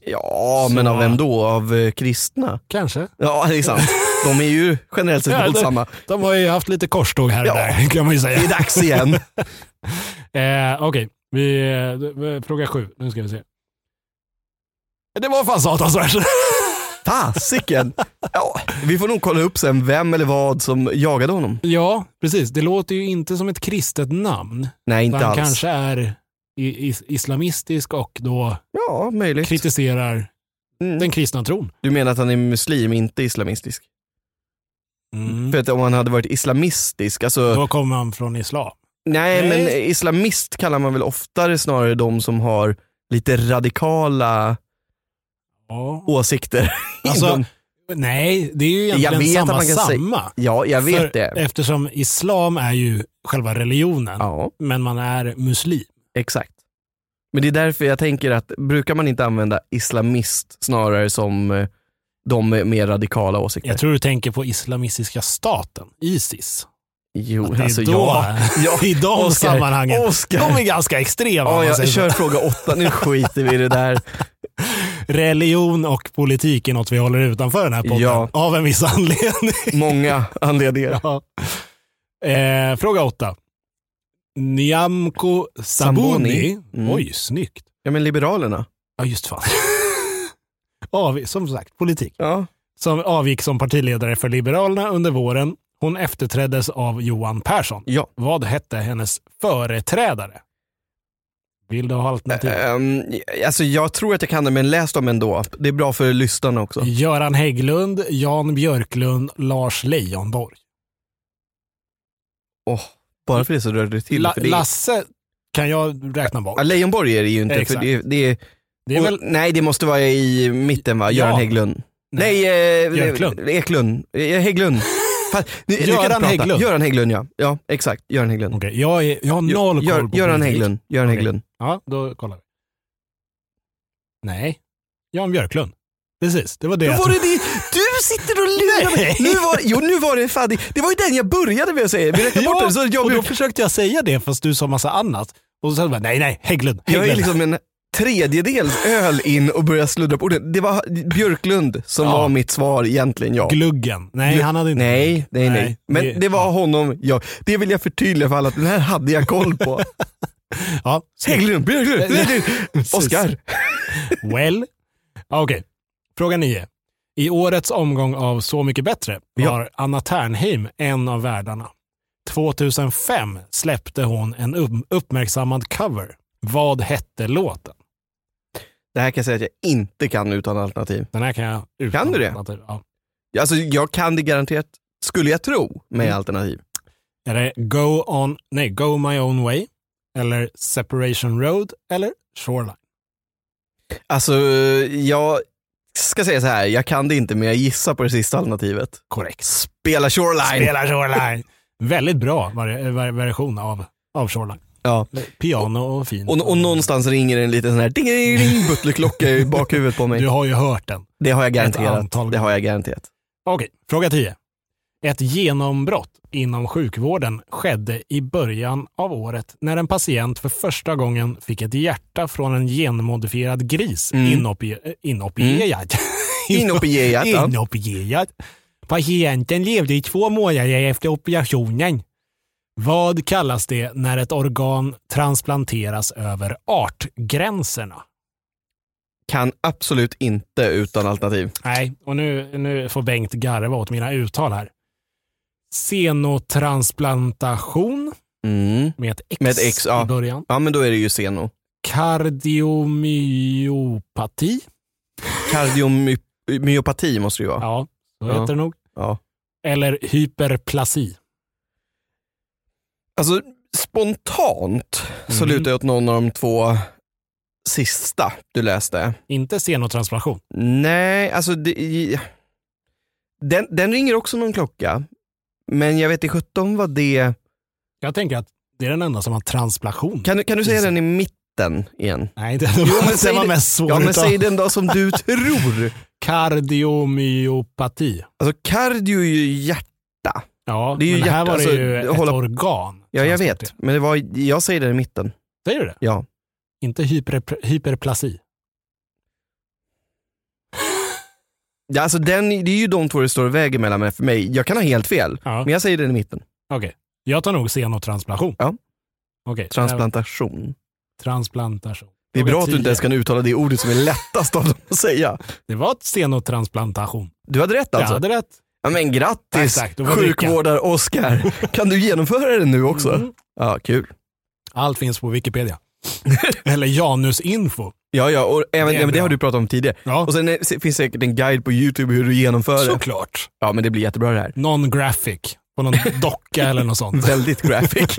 [SPEAKER 2] Ja, men
[SPEAKER 1] Så.
[SPEAKER 2] av vem då? Av eh, kristna?
[SPEAKER 1] Kanske.
[SPEAKER 2] Ja, det är sant. De är ju generellt
[SPEAKER 1] Ja,
[SPEAKER 2] sett
[SPEAKER 1] det-
[SPEAKER 2] våldsamma.
[SPEAKER 1] De har ju haft lite korståg här och
[SPEAKER 2] Ja.
[SPEAKER 1] där, kan man ju säga.
[SPEAKER 2] Det är dags igen.
[SPEAKER 1] Eh, Okej, vi, eh, fråga sju. Nu ska vi se. Det var fan satans vers.
[SPEAKER 2] Fasiken! Ja, vi får nog kolla upp sen vem eller vad som jagade honom.
[SPEAKER 1] ja, precis. Det låter ju inte som ett kristet namn.
[SPEAKER 2] Nej, inte
[SPEAKER 1] han
[SPEAKER 2] alls.
[SPEAKER 1] kanske är i, is, islamistisk och då
[SPEAKER 2] Ja, möjligt.
[SPEAKER 1] kritiserar
[SPEAKER 2] Mm.
[SPEAKER 1] den kristna tron.
[SPEAKER 2] Du menar att han är muslim, inte islamistisk?
[SPEAKER 1] Mm.
[SPEAKER 2] För att om han hade varit islamistisk, alltså
[SPEAKER 1] Då kommer han från islam.
[SPEAKER 2] Nej,
[SPEAKER 1] Nej.
[SPEAKER 2] men islamist kallar man väl oftare snarare de som har lite radikala
[SPEAKER 1] Ja.
[SPEAKER 2] åsikter.
[SPEAKER 1] Alltså,
[SPEAKER 2] Inom-
[SPEAKER 1] Nej, det är ju
[SPEAKER 2] Jag
[SPEAKER 1] egentligen
[SPEAKER 2] vet att
[SPEAKER 1] samma
[SPEAKER 2] man kan säga-
[SPEAKER 1] samma.
[SPEAKER 2] ja, jag vet
[SPEAKER 1] För-
[SPEAKER 2] det.
[SPEAKER 1] Eftersom islam är ju själva religionen,
[SPEAKER 2] Ja,
[SPEAKER 1] men man är muslim.
[SPEAKER 2] exakt. Men det är därför jag tänker att brukar man inte använda islamist snarare som eh, de med mer radikala åsikter?
[SPEAKER 1] Jag tror du tänker på Islamistiska staten, Isis.
[SPEAKER 2] jo,
[SPEAKER 1] Att det är
[SPEAKER 2] alltså
[SPEAKER 1] då,
[SPEAKER 2] ja. ja.
[SPEAKER 1] I de
[SPEAKER 2] Oscar,
[SPEAKER 1] sammanhangen.
[SPEAKER 2] Oscar.
[SPEAKER 1] De är ganska extrema. om
[SPEAKER 2] Ja,
[SPEAKER 1] man
[SPEAKER 2] jag
[SPEAKER 1] säger så.
[SPEAKER 2] kör fråga åtta, nu skiter vi i det där.
[SPEAKER 1] Religion och politik är något vi håller utanför den här podden.
[SPEAKER 2] Ja.
[SPEAKER 1] Av en viss anledning.
[SPEAKER 2] Många anledningar.
[SPEAKER 1] Ja. Eh, fråga åtta. Nyamko Sabuni.
[SPEAKER 2] Samboni. Mm.
[SPEAKER 1] Oj, snyggt.
[SPEAKER 2] Ja, men Liberalerna.
[SPEAKER 1] Ja, just fan. Av, som sagt, politik.
[SPEAKER 2] Ja.
[SPEAKER 1] Som avgick som partiledare för Liberalerna under våren. Hon efterträddes av Johan Persson.
[SPEAKER 2] ja.
[SPEAKER 1] Vad hette hennes företrädare? Vill du ha alternativ?
[SPEAKER 2] Ehm, alltså jag tror att jag kan det, men läs dem ändå. Det är bra för lyssnarna också.
[SPEAKER 1] Göran Hägglund, Jan Björklund, Lars Leijonborg.
[SPEAKER 2] Åh, bara för det så rör det till.
[SPEAKER 1] La-
[SPEAKER 2] för det är,
[SPEAKER 1] Lasse kan jag räkna bort.
[SPEAKER 2] Ja, Leijonborg är det ju inte. För
[SPEAKER 1] Exakt.
[SPEAKER 2] det, är- det är,
[SPEAKER 1] Det är
[SPEAKER 2] och,
[SPEAKER 1] väl,
[SPEAKER 2] Nej, det måste vara i mitten va? Göran
[SPEAKER 1] Ja.
[SPEAKER 2] Hägglund.
[SPEAKER 1] Nej.
[SPEAKER 2] Nej, eh,
[SPEAKER 1] Björklund.
[SPEAKER 2] Eklund. Eh, Hägglund. Fan, nu- nu kan jag inte
[SPEAKER 1] Göran
[SPEAKER 2] prata.
[SPEAKER 1] Hägglund.
[SPEAKER 2] Göran Hägglund ja. Ja, exakt. Göran Hägglund.
[SPEAKER 1] Okej, jag, är, jag har noll koll
[SPEAKER 2] Gör-
[SPEAKER 1] på
[SPEAKER 2] Göran
[SPEAKER 1] politik.
[SPEAKER 2] Hägglund. Göran
[SPEAKER 1] Okej.
[SPEAKER 2] Hägglund.
[SPEAKER 1] Ja, då kollar vi. Nej, Jan Björklund. Precis, det var det
[SPEAKER 2] Då
[SPEAKER 1] jag
[SPEAKER 2] var
[SPEAKER 1] trodde.
[SPEAKER 2] det det. Du sitter och lurar mig.
[SPEAKER 1] Nej.
[SPEAKER 2] Nu var, jo, nu var det fan. Det var ju den jag började med att säga. Vi räknar bort
[SPEAKER 1] Ja,
[SPEAKER 2] den. Så jag,
[SPEAKER 1] Och då
[SPEAKER 2] blir-
[SPEAKER 1] försökte jag säga det fast du sa massa annat. Och så sa du bara, nej, nej, Hägglund.
[SPEAKER 2] Jag är
[SPEAKER 1] Hägglund.
[SPEAKER 2] liksom en tredjedels öl in och börjar sluddra på orden. Det var Björklund som
[SPEAKER 1] Ja.
[SPEAKER 2] var mitt svar egentligen ja.
[SPEAKER 1] Gluggen. Nej,
[SPEAKER 2] Glu-
[SPEAKER 1] han hade inte.
[SPEAKER 2] Nej, nej, nej.
[SPEAKER 1] Nej,
[SPEAKER 2] Men
[SPEAKER 1] det-
[SPEAKER 2] det, var honom jag, det vill jag förtydliga för alla att den här hade jag koll på.
[SPEAKER 1] Ja.
[SPEAKER 2] Hägglund, Björklund, Björklund,
[SPEAKER 1] Precis.
[SPEAKER 2] Oscar.
[SPEAKER 1] Well. Ja, Okej, fråga nio. I årets omgång av Så mycket bättre var Anna Ternheim en av värdarna. 2005 släppte hon en upp- uppmärksammad cover. Vad hette låten?
[SPEAKER 2] Det här kan jag säga att jag inte kan utan alternativ.
[SPEAKER 1] Den här kan jag utan
[SPEAKER 2] Kan du det?
[SPEAKER 1] alternativ. Ja.
[SPEAKER 2] Alltså jag kan det garanterat, skulle jag tro, med
[SPEAKER 1] Mm.
[SPEAKER 2] alternativ.
[SPEAKER 1] Är det Go, on, nej, Go My Own Way, eller Separation Road eller Shoreline?
[SPEAKER 2] Alltså jag ska säga så här, jag kan det inte men jag gissar på det sista alternativet.
[SPEAKER 1] Korrekt.
[SPEAKER 2] Spela Shoreline.
[SPEAKER 1] Spela Shoreline. Väldigt bra var- var- version av, av Shoreline.
[SPEAKER 2] Ja.
[SPEAKER 1] Piano och fint.
[SPEAKER 2] Och, och någonstans ringer en liten sån här ding, ding, ding, butlerklocka i bakhuvudet på
[SPEAKER 1] Du
[SPEAKER 2] mig.
[SPEAKER 1] har ju hört den.
[SPEAKER 2] Det har jag
[SPEAKER 1] Ett
[SPEAKER 2] garanterat.
[SPEAKER 1] antal
[SPEAKER 2] Det har jag garanterat.
[SPEAKER 1] Okej, fråga 10. Ett genombrott inom sjukvården skedde i början av året när en patient för första gången fick ett hjärta från en genmodifierad gris
[SPEAKER 2] Mm.
[SPEAKER 1] inopie- eh, inopierad.
[SPEAKER 2] Inopierat. ja.
[SPEAKER 1] inopierad. Patienten levde i två månader efter operationen. Vad kallas det när ett organ transplanteras över artgränserna?
[SPEAKER 2] Kan absolut inte utan alternativ.
[SPEAKER 1] Nej, och nu, nu får Bengt garva åt mina uttal här. Senotransplantation
[SPEAKER 2] Mm.
[SPEAKER 1] med ett X,
[SPEAKER 2] Med ett X, ja.
[SPEAKER 1] i början.
[SPEAKER 2] Ja men då är det ju seno.
[SPEAKER 1] Kardiomyopati.
[SPEAKER 2] Kardiomyopati måste det ju vara.
[SPEAKER 1] Ja, så
[SPEAKER 2] Ja.
[SPEAKER 1] heter det nog.
[SPEAKER 2] Ja.
[SPEAKER 1] Eller hyperplasi.
[SPEAKER 2] Alltså spontant så
[SPEAKER 1] Mm.
[SPEAKER 2] lutar jag åt någon av de två sista du läste.
[SPEAKER 1] Inte xenotransplantation.
[SPEAKER 2] Nej, alltså det, den, den ringer också någon klocka. Men jag vet i 17 vad det...
[SPEAKER 1] Jag tänker att det är den enda som har transplantation.
[SPEAKER 2] Kan, du- kan du säga
[SPEAKER 1] Precis.
[SPEAKER 2] den i mitten igen?
[SPEAKER 1] Nej, den, var-
[SPEAKER 2] men
[SPEAKER 1] den
[SPEAKER 2] säg
[SPEAKER 1] var
[SPEAKER 2] det-
[SPEAKER 1] mest svår
[SPEAKER 2] Ja, men
[SPEAKER 1] utav.
[SPEAKER 2] säg den då som du tror.
[SPEAKER 1] Kardiomyopati.
[SPEAKER 2] Alltså kardio är ju hjärt...
[SPEAKER 1] Ja,
[SPEAKER 2] Det är ju
[SPEAKER 1] men här
[SPEAKER 2] hjärt-
[SPEAKER 1] var det
[SPEAKER 2] alltså,
[SPEAKER 1] ju ett
[SPEAKER 2] hålla-
[SPEAKER 1] organ.
[SPEAKER 2] Ja, jag vet.
[SPEAKER 1] Transporterat.
[SPEAKER 2] Men det var, jag säger den i mitten.
[SPEAKER 1] Säger du det?
[SPEAKER 2] Ja.
[SPEAKER 1] Inte hyper, hyperplasi.
[SPEAKER 2] Ja, Alltså den, det är ju de två det står väg emellan men för mig. Jag kan ha helt fel,
[SPEAKER 1] Ja.
[SPEAKER 2] men jag säger den i mitten.
[SPEAKER 1] Okej. Jag tar nog xenotransplantation.
[SPEAKER 2] Ja.
[SPEAKER 1] Okej. eh,
[SPEAKER 2] Transplantation.
[SPEAKER 1] Transplantation.
[SPEAKER 2] Det är
[SPEAKER 1] Fråga
[SPEAKER 2] bra att du inte
[SPEAKER 1] 10.
[SPEAKER 2] ens kan uttala det ordet som är lättast av dem att säga.
[SPEAKER 1] Det var xenotransplantation.
[SPEAKER 2] Du hade rätt
[SPEAKER 1] Jag
[SPEAKER 2] alltså?
[SPEAKER 1] hade rätt.
[SPEAKER 2] Ja, men
[SPEAKER 1] Tack,
[SPEAKER 2] grattis
[SPEAKER 1] tack. Då får vi dricka.
[SPEAKER 2] sjukvårdar-Oskar. Kan du genomföra det nu också?
[SPEAKER 1] Mm.
[SPEAKER 2] Ja, kul.
[SPEAKER 1] Allt finns på Wikipedia. Eller Janusinfo.
[SPEAKER 2] Ja, ja, och även,
[SPEAKER 1] Det
[SPEAKER 2] det,
[SPEAKER 1] är
[SPEAKER 2] ja, men det
[SPEAKER 1] bra.
[SPEAKER 2] har du pratat om tidigare.
[SPEAKER 1] Ja,
[SPEAKER 2] Och sen eh, se- finns säkert en guide på YouTube hur du genomför det.
[SPEAKER 1] såklart.
[SPEAKER 2] Ja, men det blir jättebra det här.
[SPEAKER 1] Non-graphic. På någon docka eller något sånt.
[SPEAKER 2] Väldigt graphic.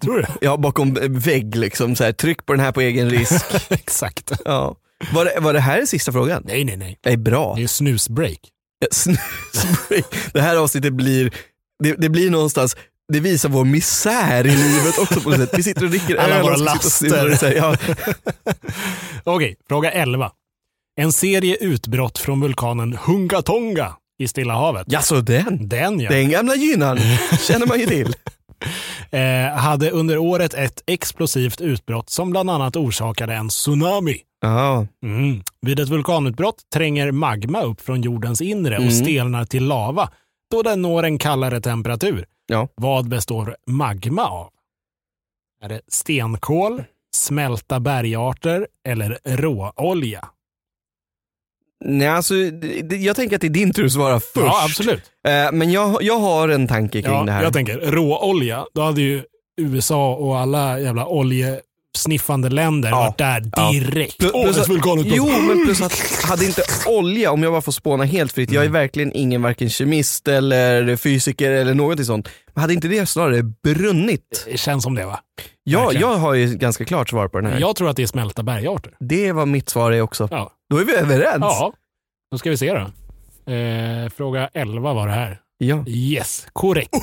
[SPEAKER 1] Tror du?
[SPEAKER 2] Ja, bakom eh, vägg liksom. Så här, tryck på den här på egen risk.
[SPEAKER 1] Exakt.
[SPEAKER 2] Ja. Var, det, var det här sista frågan?
[SPEAKER 1] Nej, nej, nej.
[SPEAKER 2] Det är bra.
[SPEAKER 1] Det är snusbreak.
[SPEAKER 2] Ja, Snusbreak. Eh, Det här avsnittet blir, det, det blir någonstans, det visar vår misär i livet också på något sätt. Vi sitter och dricker
[SPEAKER 1] Alla
[SPEAKER 2] öl och
[SPEAKER 1] våra
[SPEAKER 2] ska sitta och snurra och
[SPEAKER 1] laster.
[SPEAKER 2] säga, ja,
[SPEAKER 1] Okej, fråga 11. En serie utbrott från vulkanen Hungatonga i Stilla havet.
[SPEAKER 2] ja, så den.
[SPEAKER 1] Den ja.
[SPEAKER 2] Den gamla gynan känner man ju till.
[SPEAKER 1] Eh, hade under året ett explosivt utbrott som bland annat orsakade en tsunami.
[SPEAKER 2] Ja,
[SPEAKER 1] Mm. Vid ett vulkanutbrott tränger magma upp från jordens inre och
[SPEAKER 2] Mm.
[SPEAKER 1] stelnar till lava då den når en kallare temperatur.
[SPEAKER 2] Ja.
[SPEAKER 1] Vad består magma av? Är det stenkol, smälta bergarter eller råolja?
[SPEAKER 2] nej alltså, det- det- jag tänker att det är din tur att svara först.
[SPEAKER 1] Ja, absolut.
[SPEAKER 2] Eh, Men jag, jag har en tanke kring
[SPEAKER 1] Ja,
[SPEAKER 2] det här.
[SPEAKER 1] jag tänker råolja, då hade ju USA och alla jävla oljesniffande länder
[SPEAKER 2] Ja.
[SPEAKER 1] varit där
[SPEAKER 2] Ja.
[SPEAKER 1] direkt.
[SPEAKER 2] Plus- plus
[SPEAKER 1] Årets
[SPEAKER 2] att-
[SPEAKER 1] vulkanutbrott.
[SPEAKER 2] Jo, men plus att hade inte olja, om jag bara får spåna helt fritt, jag är
[SPEAKER 1] Mm.
[SPEAKER 2] verkligen ingen varken kemist eller fysiker eller någonting sånt. Men hade inte det snarare brunnit?
[SPEAKER 1] Det känns som det va?
[SPEAKER 2] Ja,
[SPEAKER 1] Verkligen.
[SPEAKER 2] jag har ju ett ganska klart svar på den här.
[SPEAKER 1] Jag tror att det är smälta bergarter.
[SPEAKER 2] Det var mitt svar är också.
[SPEAKER 1] Ja.
[SPEAKER 2] Då är vi överens.
[SPEAKER 1] Ja, då ska vi se då. Eh, fråga 11 var det här.
[SPEAKER 2] Ja.
[SPEAKER 1] Yes, korrekt.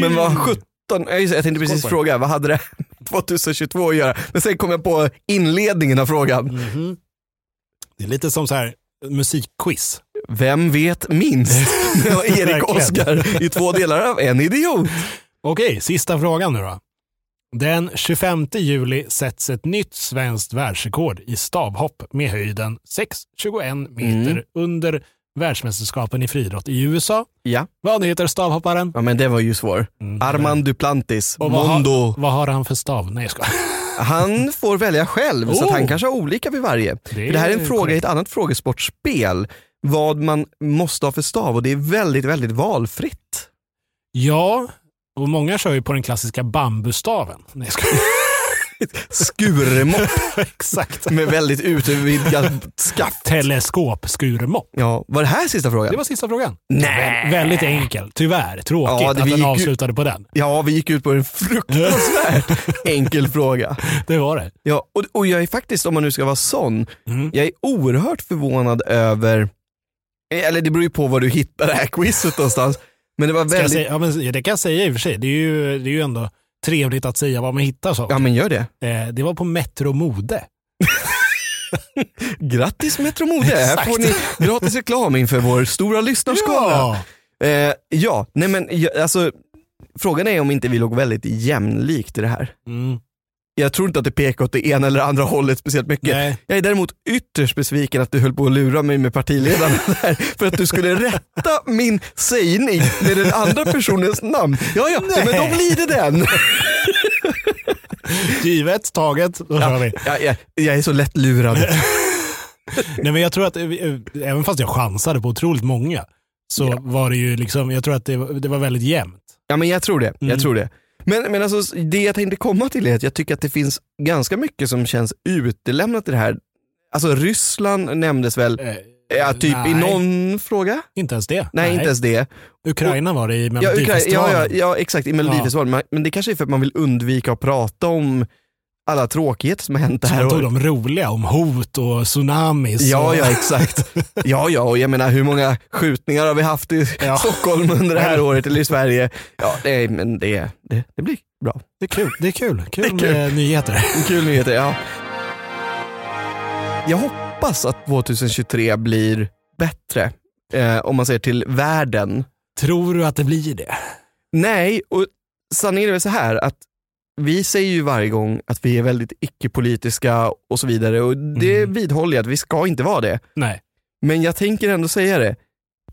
[SPEAKER 2] Men vad 17, Ja, just det, jag tänkte precis
[SPEAKER 1] Skål på er.
[SPEAKER 2] fråga, vad hade det 2022 att göra? Men sen kom jag på inledningen av frågan.
[SPEAKER 1] Mhm. Det är lite som så här musikquiz.
[SPEAKER 2] Vem vet minst? Det var Erik och
[SPEAKER 1] Verkligen.
[SPEAKER 2] Oskar i två delar av en idiot.
[SPEAKER 1] Okej, sista frågan nu då. Den 25 juli sätts ett nytt svenskt världsrekord i stavhopp med höjden 6,21 meter
[SPEAKER 2] Mm.
[SPEAKER 1] under världsmästerskapen i friidrott i USA.
[SPEAKER 2] Ja.
[SPEAKER 1] Vad heter stavhopparen?
[SPEAKER 2] ja, men det var ju svår.
[SPEAKER 1] Mm.
[SPEAKER 2] Armand Duplantis,
[SPEAKER 1] Och vad
[SPEAKER 2] Mondo.
[SPEAKER 1] Vad har han för stav? Nej, jag skojar.
[SPEAKER 2] Han får välja själv, så att
[SPEAKER 1] Oh.
[SPEAKER 2] han kanske har olika vid varje.
[SPEAKER 1] Det
[SPEAKER 2] För det här är
[SPEAKER 1] är
[SPEAKER 2] en fråga i ett annat frågesportspel, vad man måste ha för stav och det är väldigt, väldigt valfritt.
[SPEAKER 1] Ja, och många kör ju på den klassiska bambustaven. Nej, jag skojar.
[SPEAKER 2] Skurmopp
[SPEAKER 1] Exakt.
[SPEAKER 2] med väldigt utvidgat skaft.
[SPEAKER 1] Teleskopskurmopp.
[SPEAKER 2] Ja, var det här sista frågan?
[SPEAKER 1] Det var sista frågan.
[SPEAKER 2] Nej.
[SPEAKER 1] Vä- Väldigt enkel. Tyvärr. Tråkigt
[SPEAKER 2] Ja, det-
[SPEAKER 1] att
[SPEAKER 2] vi
[SPEAKER 1] den
[SPEAKER 2] gick ju-
[SPEAKER 1] avslutade på den.
[SPEAKER 2] Ja, vi gick ut på en fruktansvärt enkel fråga.
[SPEAKER 1] Det var det.
[SPEAKER 2] Ja, och, och jag är faktiskt, om man nu ska vara sån,
[SPEAKER 1] Mm.
[SPEAKER 2] jag är oerhört förvånad över, eller det beror ju på var du hittar det här quizet någonstans, men det var
[SPEAKER 1] Ska jag
[SPEAKER 2] väldigt...
[SPEAKER 1] säga, ja, men det kan jag säga i och för sig. Det är ju, det är ju ändå trevligt att säga vad man hittar. Så.
[SPEAKER 2] Ja men gör det.
[SPEAKER 1] Eh, det var på Metro Mode.
[SPEAKER 2] Grattis Metro Mode, här
[SPEAKER 1] Exakt.
[SPEAKER 2] får ni gratis reklam inför vår stora lyssnarskara.
[SPEAKER 1] Ja.
[SPEAKER 2] Ja, eh, ja. nej men jag, alltså, frågan är om inte vi låg väldigt jämlikt i det här.
[SPEAKER 1] Mm.
[SPEAKER 2] Jag tror inte att det pekar åt det ena eller andra hållet speciellt mycket.
[SPEAKER 1] Nej.
[SPEAKER 2] Jag är däremot ytterst besviken att du höll på att lura mig med partiledaren där, för att du skulle rätta min sägning med den andra personens namn. Ja, ja,
[SPEAKER 1] Nej.
[SPEAKER 2] men då blir det den.
[SPEAKER 1] Givet, taget, då kör vi.
[SPEAKER 2] Jag, jag, jag är så lätt lurad.
[SPEAKER 1] Nej, men jag tror att, eh, vi- eh, även fast jag chansade på otroligt många, så var det ju liksom, jag tror att det var, det var väldigt jämnt.
[SPEAKER 2] Ja men jag tror det.
[SPEAKER 1] Mm.
[SPEAKER 2] Jag tror det. Men, men alltså, det jag tänkte komma till är att jag tycker att det finns ganska mycket som känns utelämnat i det här. Alltså Ryssland nämndes väl
[SPEAKER 1] Eh,
[SPEAKER 2] Ja, typ
[SPEAKER 1] Nej.
[SPEAKER 2] i någon fråga?
[SPEAKER 1] Inte ens det.
[SPEAKER 2] Nej, inte ens det.
[SPEAKER 1] Ukraina var det i
[SPEAKER 2] Ja, Ukraina,
[SPEAKER 1] Melodifestivalen.
[SPEAKER 2] ja, ja, ja, exakt, i Melodifestivalen. Men- Men det kanske är för att man vill undvika att prata om alla tråkigheter som har hänt det
[SPEAKER 1] Så
[SPEAKER 2] här
[SPEAKER 1] man tog
[SPEAKER 2] året.
[SPEAKER 1] de roliga om hot och tsunamis.
[SPEAKER 2] Ja,
[SPEAKER 1] och,
[SPEAKER 2] ja, exakt. Ja, ja, och jag menar hur många skjutningar har vi haft i
[SPEAKER 1] Ja.
[SPEAKER 2] Stockholm under det här året eller i Sverige? Ja, nej, men det, det, det blir bra.
[SPEAKER 1] Det är kul. Det är kul. Kul,
[SPEAKER 2] Det är kul.
[SPEAKER 1] med nyheter.
[SPEAKER 2] Kul nyheter, ja. Jag hoppas att 2023 blir bättre eh, om man ser till världen.
[SPEAKER 1] Tror du att det blir det?
[SPEAKER 2] Nej, och sanningen är väl så här att vi säger ju varje gång att vi är väldigt icke-politiska och så vidare och det
[SPEAKER 1] Mm.
[SPEAKER 2] vidhåller jag att vi ska inte vara det.
[SPEAKER 1] Nej,
[SPEAKER 2] Men jag tänker ändå säga det.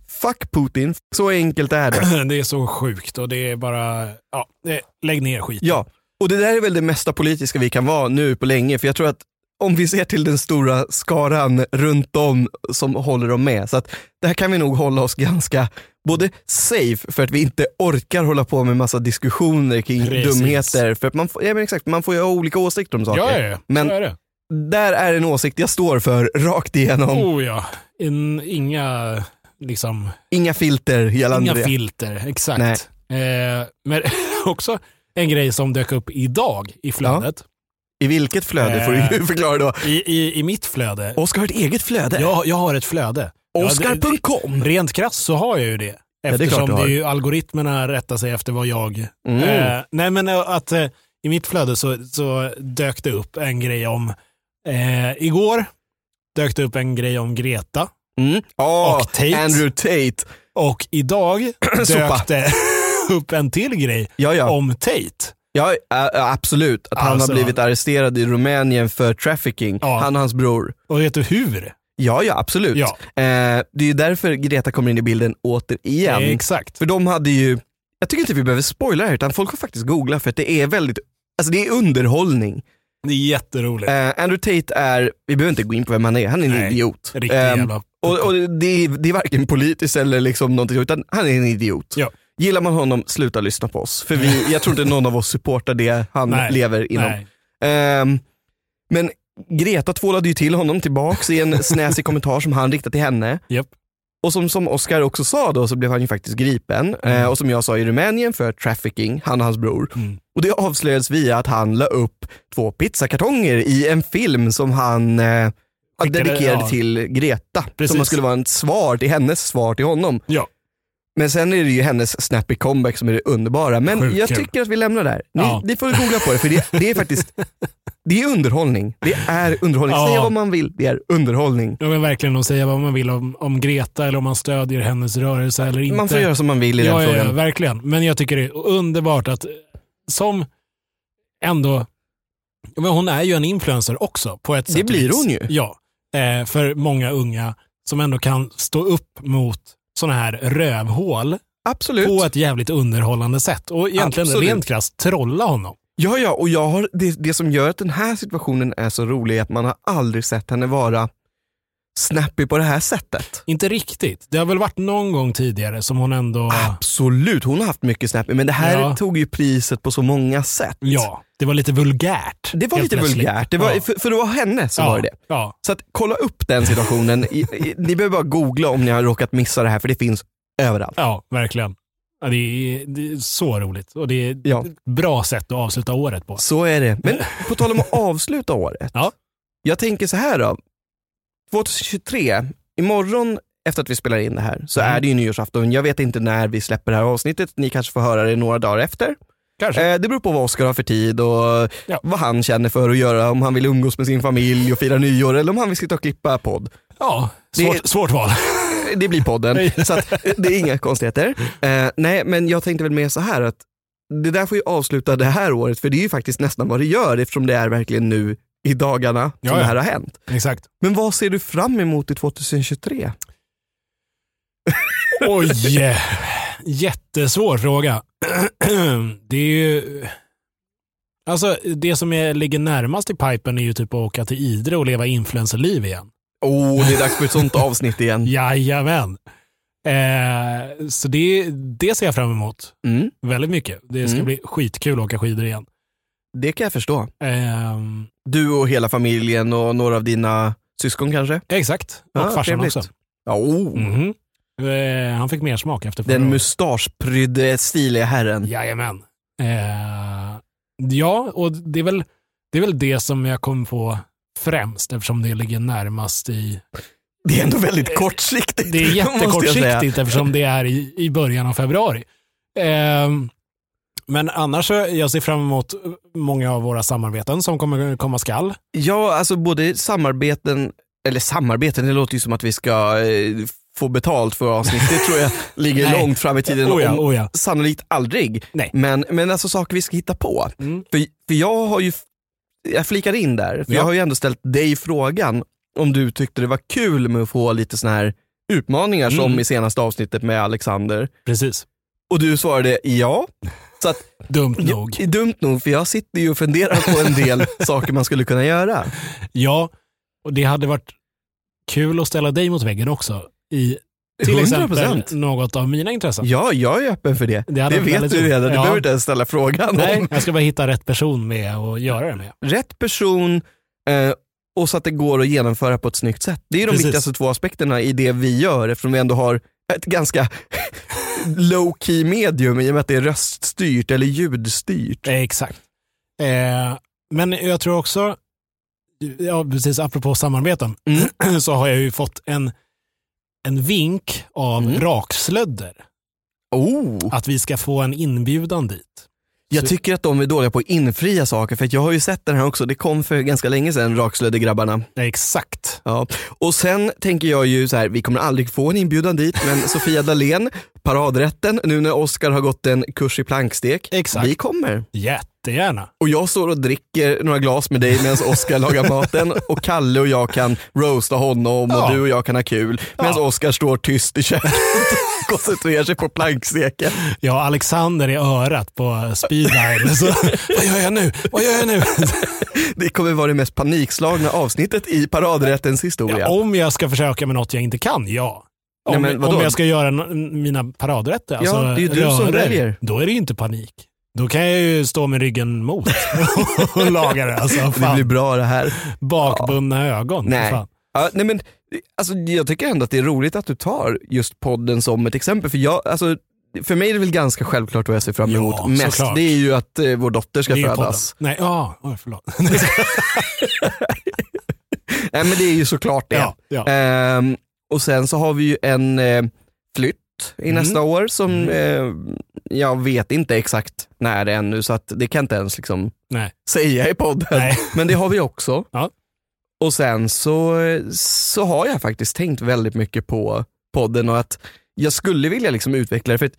[SPEAKER 2] Fuck Putin, så enkelt är det.
[SPEAKER 1] det är så sjukt och det är bara, ja, eh, lägg ner skiten.
[SPEAKER 2] Ja, och det där är väl det mesta politiska vi kan vara nu på länge för jag tror att om vi ser till den stora skaran runt om som håller dem med så att det här kan vi nog hålla oss ganska både safe för att vi inte orkar hålla på med massa diskussioner kring
[SPEAKER 1] Precis.
[SPEAKER 2] dumheter för att man får, ja, men exakt, man får ju ha olika åsikter om saker.
[SPEAKER 1] ja, ja, ja.
[SPEAKER 2] Men-
[SPEAKER 1] så är det.
[SPEAKER 2] Där är en åsikt jag står för rakt igenom.
[SPEAKER 1] Oh ja, In, inga, liksom,
[SPEAKER 2] Inga filter gällande
[SPEAKER 1] inga
[SPEAKER 2] det.
[SPEAKER 1] filter. Exakt. Eh, men också en grej som dök upp idag i flödet.
[SPEAKER 2] I vilket flöde får du
[SPEAKER 1] Eh.
[SPEAKER 2] ju förklara då.
[SPEAKER 1] I, i, I mitt flöde.
[SPEAKER 2] Oskar har ett eget flöde.
[SPEAKER 1] Jag, jag har ett flöde. Ja, det-
[SPEAKER 2] Oscar.com.
[SPEAKER 1] Rent krasst så har jag ju det.
[SPEAKER 2] är klart du
[SPEAKER 1] Eftersom det
[SPEAKER 2] har.
[SPEAKER 1] är ju algoritmerna rättar sig efter vad jag...
[SPEAKER 2] Mm.
[SPEAKER 1] Eh, nej men eh, att eh, i mitt flöde så, så dök det upp en grej om... Eh, igår dök det upp en grej om Greta
[SPEAKER 2] Mm. Ah,
[SPEAKER 1] Och Tate.
[SPEAKER 2] Andrew Tate.
[SPEAKER 1] och idag
[SPEAKER 2] Sopa.
[SPEAKER 1] dök det upp en till grej
[SPEAKER 2] Ja, ja.
[SPEAKER 1] om Tate.
[SPEAKER 2] ja ä- ä- absolut. Att han har
[SPEAKER 1] Alltså-
[SPEAKER 2] blivit arresterad i Rumänien för trafficking.
[SPEAKER 1] Ja.
[SPEAKER 2] Han och hans bror.
[SPEAKER 1] Och vet du hur?
[SPEAKER 2] Ja, ja, absolut.
[SPEAKER 1] Ja.
[SPEAKER 2] Eh, det är ju därför Greta kommer in i bilden återigen.
[SPEAKER 1] Exakt.
[SPEAKER 2] För de hade ju, jag tycker inte vi behöver spoila det här utan folk får faktiskt googla för att det är väldigt, alltså det är underhållning.
[SPEAKER 1] Det är jätteroligt.
[SPEAKER 2] Eh, Andrew Tate är, vi behöver inte gå in på vem han är, han är en
[SPEAKER 1] Nej,
[SPEAKER 2] idiot.
[SPEAKER 1] Riktigt
[SPEAKER 2] Ehm,
[SPEAKER 1] jävla...
[SPEAKER 2] och och det, är, det är varken politiskt eller liksom någonting, utan han är en idiot.
[SPEAKER 1] Ja.
[SPEAKER 2] Gillar man honom, sluta lyssna på oss. För vi, jag tror inte någon av oss supportar det han
[SPEAKER 1] Nej,
[SPEAKER 2] lever inom.
[SPEAKER 1] Nej.
[SPEAKER 2] Ehm, men Greta tvålade ju till honom tillbaks i en snäsig kommentar som han riktade till henne.
[SPEAKER 1] Japp.
[SPEAKER 2] Och som, som Oscar också sa då så blev han ju faktiskt gripen.
[SPEAKER 1] Mm.
[SPEAKER 2] Eh, och som jag sa i Rumänien för trafficking, han och hans bror.
[SPEAKER 1] Mm.
[SPEAKER 2] Och det avslöjades via att han la upp två pizzakartonger i en film som han eh,
[SPEAKER 1] Skickade,
[SPEAKER 2] dedikerade
[SPEAKER 1] ja.
[SPEAKER 2] till Greta.
[SPEAKER 1] Precis.
[SPEAKER 2] Som man skulle vara ett svar till hennes svar till honom.
[SPEAKER 1] Ja.
[SPEAKER 2] Men sen är det ju hennes snappy comeback som är det underbara. Men
[SPEAKER 1] Sjukt
[SPEAKER 2] jag
[SPEAKER 1] kul.
[SPEAKER 2] tycker att vi lämnar det här. Ni,
[SPEAKER 1] Ja.
[SPEAKER 2] ni får googla på det för det, det är faktiskt det är underhållning. Det är underhållning.
[SPEAKER 1] Ja.
[SPEAKER 2] Säga vad man vill, det är underhållning.
[SPEAKER 1] Ja, men verkligen att säga vad man vill om, om Greta eller om man stödjer hennes rörelse eller inte.
[SPEAKER 2] Man får göra som man vill i den
[SPEAKER 1] ja, ja, ja,
[SPEAKER 2] frågan.
[SPEAKER 1] verkligen. Men jag tycker det är underbart att som ändå, Ja, men hon är ju en influencer också på ett sätt. och
[SPEAKER 2] blir
[SPEAKER 1] vis.
[SPEAKER 2] hon ju.
[SPEAKER 1] Ja, eh, för många unga som ändå kan stå upp mot sådana här rövhål
[SPEAKER 2] Absolut.
[SPEAKER 1] på ett jävligt underhållande sätt. Och egentligen
[SPEAKER 2] Absolut.
[SPEAKER 1] rent krasst trolla honom.
[SPEAKER 2] Ja, ja, och jag har, det, det som gör att den här situationen är så rolig är att man har aldrig sett henne vara snappy på det här sättet.
[SPEAKER 1] Inte riktigt. Det har väl varit någon gång tidigare som hon ändå...
[SPEAKER 2] Absolut, hon har haft mycket snappy, men det här
[SPEAKER 1] Ah. Ja.
[SPEAKER 2] tog ju priset på så många sätt.
[SPEAKER 1] Ja, det var lite vulgärt.
[SPEAKER 2] Det var
[SPEAKER 1] helt
[SPEAKER 2] lite
[SPEAKER 1] plötsligt.
[SPEAKER 2] vulgärt, det var,
[SPEAKER 1] Ja.
[SPEAKER 2] för, för det var henne som
[SPEAKER 1] ja,
[SPEAKER 2] var det.
[SPEAKER 1] Ja,
[SPEAKER 2] Så att kolla upp den situationen. I, i, ni behöver bara googla om ni har råkat missa det här för det finns överallt.
[SPEAKER 1] ja verkligen. Ja, det, är, det är så roligt och det är
[SPEAKER 2] Ja.
[SPEAKER 1] ett bra sätt att avsluta året på.
[SPEAKER 2] Så är det. Men på tal om att avsluta året.
[SPEAKER 1] Ja.
[SPEAKER 2] Jag tänker så här då. 2023, imorgon efter att vi spelar in det här så
[SPEAKER 1] Mm.
[SPEAKER 2] är det ju nyårsafton. Jag vet inte när vi släpper det här avsnittet. Ni kanske får höra det några dagar efter.
[SPEAKER 1] Kanske.
[SPEAKER 2] Eh, det beror på vad Oskar har för tid och
[SPEAKER 1] Ja.
[SPEAKER 2] vad han känner för att göra. Om han vill umgås med sin familj och fira nyår eller om han vill sitta och klippa podd.
[SPEAKER 1] Ja,
[SPEAKER 2] det-
[SPEAKER 1] svårt, svårt val.
[SPEAKER 2] Det blir podden.
[SPEAKER 1] Nej.
[SPEAKER 2] så att, eh, det är inga konstigheter. Eh, nej, men jag tänkte väl mer så här att det där får ju avsluta det här året, för det är ju faktiskt nästan vad det gör eftersom det är verkligen nu i dagarna som
[SPEAKER 1] Ja, ja.
[SPEAKER 2] det här har hänt.
[SPEAKER 1] Exakt.
[SPEAKER 2] Men vad ser du fram emot i 2023?
[SPEAKER 1] Oj! eh, Jättesvår fråga. Det är ju... Alltså det som är, ligger närmast i pipen är ju typ att åka till Idre och leva influencerliv igen.
[SPEAKER 2] Åh, oh, det är dags för ett sånt avsnitt igen.
[SPEAKER 1] Jajamän. Eh, så det, det ser jag fram emot.
[SPEAKER 2] Mm,
[SPEAKER 1] väldigt mycket. Det ska
[SPEAKER 2] Mm.
[SPEAKER 1] bli skitkul att åka skidor igen.
[SPEAKER 2] det kan jag förstå.
[SPEAKER 1] Ehm,
[SPEAKER 2] Du och hela familjen och några av dina syskon kanske?
[SPEAKER 1] exakt, och
[SPEAKER 2] Ja,
[SPEAKER 1] farsan
[SPEAKER 2] trevligt.
[SPEAKER 1] också.
[SPEAKER 2] Ja, oh.
[SPEAKER 1] Mhm. Eh, han fick mer smak efter förra
[SPEAKER 2] Den
[SPEAKER 1] året.
[SPEAKER 2] mustaschprydde, stiliga herren.
[SPEAKER 1] Jajamän. Eh, ja, och det är, väl, det är väl det som jag kom på främst eftersom det ligger närmast i...
[SPEAKER 2] Det är ändå väldigt kortsiktigt.
[SPEAKER 1] Det är
[SPEAKER 2] måste jag säga.
[SPEAKER 1] jättekortsiktigt eftersom det är i, i början av februari. Eh, men annars, så- jag ser fram emot många av våra samarbeten som kommer komma skall.
[SPEAKER 2] Ja, alltså både samarbeten, eller samarbeten, det låter ju som att vi ska eh, få betalt för avsnitt. Det tror jag ligger
[SPEAKER 1] Nej.
[SPEAKER 2] långt fram i tiden.
[SPEAKER 1] Oh ja,
[SPEAKER 2] om,
[SPEAKER 1] oh ja.
[SPEAKER 2] sannolikt aldrig.
[SPEAKER 1] Nej.
[SPEAKER 2] Men, men alltså saker vi ska hitta på.
[SPEAKER 1] Mm.
[SPEAKER 2] För, för jag har ju, jag flikar in där, för
[SPEAKER 1] Ja.
[SPEAKER 2] jag har ju ändå ställt dig frågan om du tyckte det var kul med att få lite såna här utmaningar som
[SPEAKER 1] Mm.
[SPEAKER 2] i senaste avsnittet med Alexander.
[SPEAKER 1] Precis.
[SPEAKER 2] Och du svarade ja. Så att,
[SPEAKER 1] Dumt nog.
[SPEAKER 2] Ja, dumt nog, för jag sitter ju och funderar på en del saker man skulle kunna göra.
[SPEAKER 1] Ja, och det hade varit kul att ställa dig mot väggen också. I till
[SPEAKER 2] 100%.
[SPEAKER 1] exempel något av mina intressen.
[SPEAKER 2] Ja, jag är öppen för det.
[SPEAKER 1] Det
[SPEAKER 2] Det,
[SPEAKER 1] hade varit
[SPEAKER 2] vet
[SPEAKER 1] väldigt
[SPEAKER 2] du
[SPEAKER 1] roligt.
[SPEAKER 2] redan, du
[SPEAKER 1] Ja.
[SPEAKER 2] behöver inte ens ställa frågan.
[SPEAKER 1] Nej,
[SPEAKER 2] Om
[SPEAKER 1] jag ska bara hitta rätt person med och göra det med.
[SPEAKER 2] rätt person eh, och så att det går att genomföra på ett snyggt sätt. Det är ju de
[SPEAKER 1] Precis.
[SPEAKER 2] viktigaste två aspekterna i det vi gör eftersom vi ändå har ett ganska low key medium i och med att det är röststyrt eller ljudstyrt.
[SPEAKER 1] Eh, Exakt. Eh, men jag tror också, ja, precis apropå samarbeten, så har jag ju fått en, en vink av
[SPEAKER 2] Mm.
[SPEAKER 1] Rakslödder
[SPEAKER 2] Oh.
[SPEAKER 1] att vi ska få en inbjudan dit.
[SPEAKER 2] Jag tycker att de är dåliga på att infria saker för att jag har ju sett den här också. Det kom för ganska länge sedan, Rakslöddegrabbarna.
[SPEAKER 1] Eh, Exakt.
[SPEAKER 2] Ja. Och sen tänker jag ju så här, vi kommer aldrig få en inbjudan dit, men Sofia Dalén, paradrätten, nu när Oscar har gått en kurs i plankstek.
[SPEAKER 1] Exakt.
[SPEAKER 2] Vi kommer.
[SPEAKER 1] Jättegärna.
[SPEAKER 2] Och jag står och dricker några glas med dig medan Oscar lagar maten och Kalle och jag kan roasta honom
[SPEAKER 1] Ja.
[SPEAKER 2] och du och jag kan ha kul. Medan
[SPEAKER 1] Ja.
[SPEAKER 2] Oscar står tyst i köket och koncentrerar sig på planksteken.
[SPEAKER 1] Jag och Alexander i örat på speedline. Så, vad gör jag nu? Vad gör jag nu?
[SPEAKER 2] Det kommer vara det mest panikslagna avsnitet i paradrättens historia.
[SPEAKER 1] Ja, om jag ska försöka med något jag inte kan, ja. Om,
[SPEAKER 2] Nej, men vadå?
[SPEAKER 1] om jag ska göra n- mina paradrätter, alltså
[SPEAKER 2] det är ju du som
[SPEAKER 1] röror,
[SPEAKER 2] väljer.
[SPEAKER 1] Då är det ju inte panik. Då kan jag ju stå med ryggen mot och laga det. Alltså,
[SPEAKER 2] Det
[SPEAKER 1] fan.
[SPEAKER 2] blir bra det här.
[SPEAKER 1] Bakbundna ögon.
[SPEAKER 2] Nej.
[SPEAKER 1] Fan.
[SPEAKER 2] Ja, nej men, alltså, jag tycker ändå att det är roligt att du tar just podden som ett exempel. För, jag, alltså, för mig är det väl ganska självklart vad jag ser fram
[SPEAKER 1] Ja,
[SPEAKER 2] emot mest.
[SPEAKER 1] såklart.
[SPEAKER 2] Det är ju att eh, vår dotter ska
[SPEAKER 1] Det är ju podden.
[SPEAKER 2] födas.
[SPEAKER 1] Nej, ja, oj, förlåt.
[SPEAKER 2] Nej, men det är ju såklart det.
[SPEAKER 1] ja, ja.
[SPEAKER 2] Ehm, och sen så har vi ju en eh, flytt i
[SPEAKER 1] Mm.
[SPEAKER 2] nästa år som eh, jag vet inte exakt när det är ännu så att det kan jag inte ens liksom
[SPEAKER 1] Nej.
[SPEAKER 2] säga i podden.
[SPEAKER 1] Nej.
[SPEAKER 2] Men det har vi också.
[SPEAKER 1] Ja.
[SPEAKER 2] Och sen så, så har jag faktiskt tänkt väldigt mycket på podden och att jag skulle vilja liksom utveckla det. För att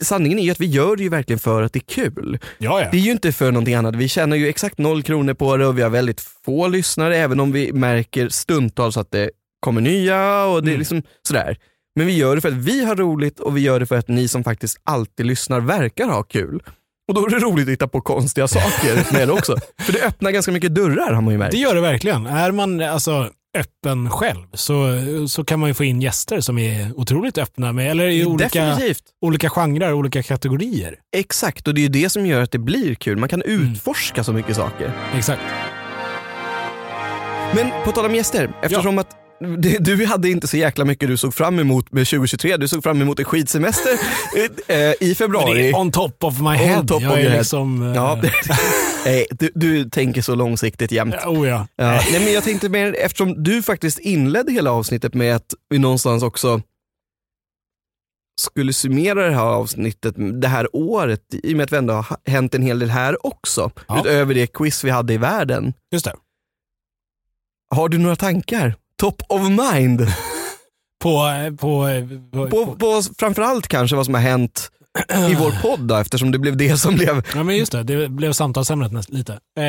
[SPEAKER 2] sanningen är ju att vi gör det ju verkligen för att det är kul.
[SPEAKER 1] ja, ja.
[SPEAKER 2] Det är ju inte för någonting annat. Vi tjänar ju exakt noll kronor på det och vi har väldigt få lyssnare även om vi märker stundtals att det kommer nya och det är
[SPEAKER 1] Mm.
[SPEAKER 2] liksom sådär. Men vi gör det för att vi har roligt och vi gör det för att ni som faktiskt alltid lyssnar verkar ha kul. Och då är det roligt att hitta på konstiga saker med det också. För det öppnar ganska mycket dörrar har man ju märkt.
[SPEAKER 1] Det gör det verkligen. Är man alltså, öppen själv så, så kan man ju få in gäster som är otroligt öppna med, eller i olika,
[SPEAKER 2] Definitivt.
[SPEAKER 1] olika genrer, olika kategorier.
[SPEAKER 2] Exakt, och det är ju det som gör att det blir kul. Man kan
[SPEAKER 1] Mm.
[SPEAKER 2] utforska så mycket saker.
[SPEAKER 1] Exakt.
[SPEAKER 2] Men på tal om gäster, eftersom att det- du hade inte så jäkla mycket du såg fram emot med 2023. Du såg fram emot en skidsemester eh, i
[SPEAKER 1] Men det
[SPEAKER 2] februari.
[SPEAKER 1] är on top of my head.
[SPEAKER 2] top
[SPEAKER 1] jag
[SPEAKER 2] of
[SPEAKER 1] är
[SPEAKER 2] your head.
[SPEAKER 1] liksom... eh,
[SPEAKER 2] Ja, nej, du, du tänker så långsiktigt jämt.
[SPEAKER 1] ja, oh ja.
[SPEAKER 2] Ja. Nej, men jag tänkte mer, eftersom du faktiskt inledde hela avsnittet med att vi någonstans också skulle summera det här avsnittet, det här året, i och med att vi ändå har hänt en hel del här också.
[SPEAKER 1] Ja.
[SPEAKER 2] Utöver det quiz vi hade i världen.
[SPEAKER 1] Just det.
[SPEAKER 2] Har du några tankar? Top of mind?
[SPEAKER 1] På, eh, på, eh, på,
[SPEAKER 2] På, på framförallt kanske vad som har hänt i vår podd då, eftersom det blev det som blev
[SPEAKER 1] Ja, men just det. Det blev samtalsämnet näst, lite. Eh,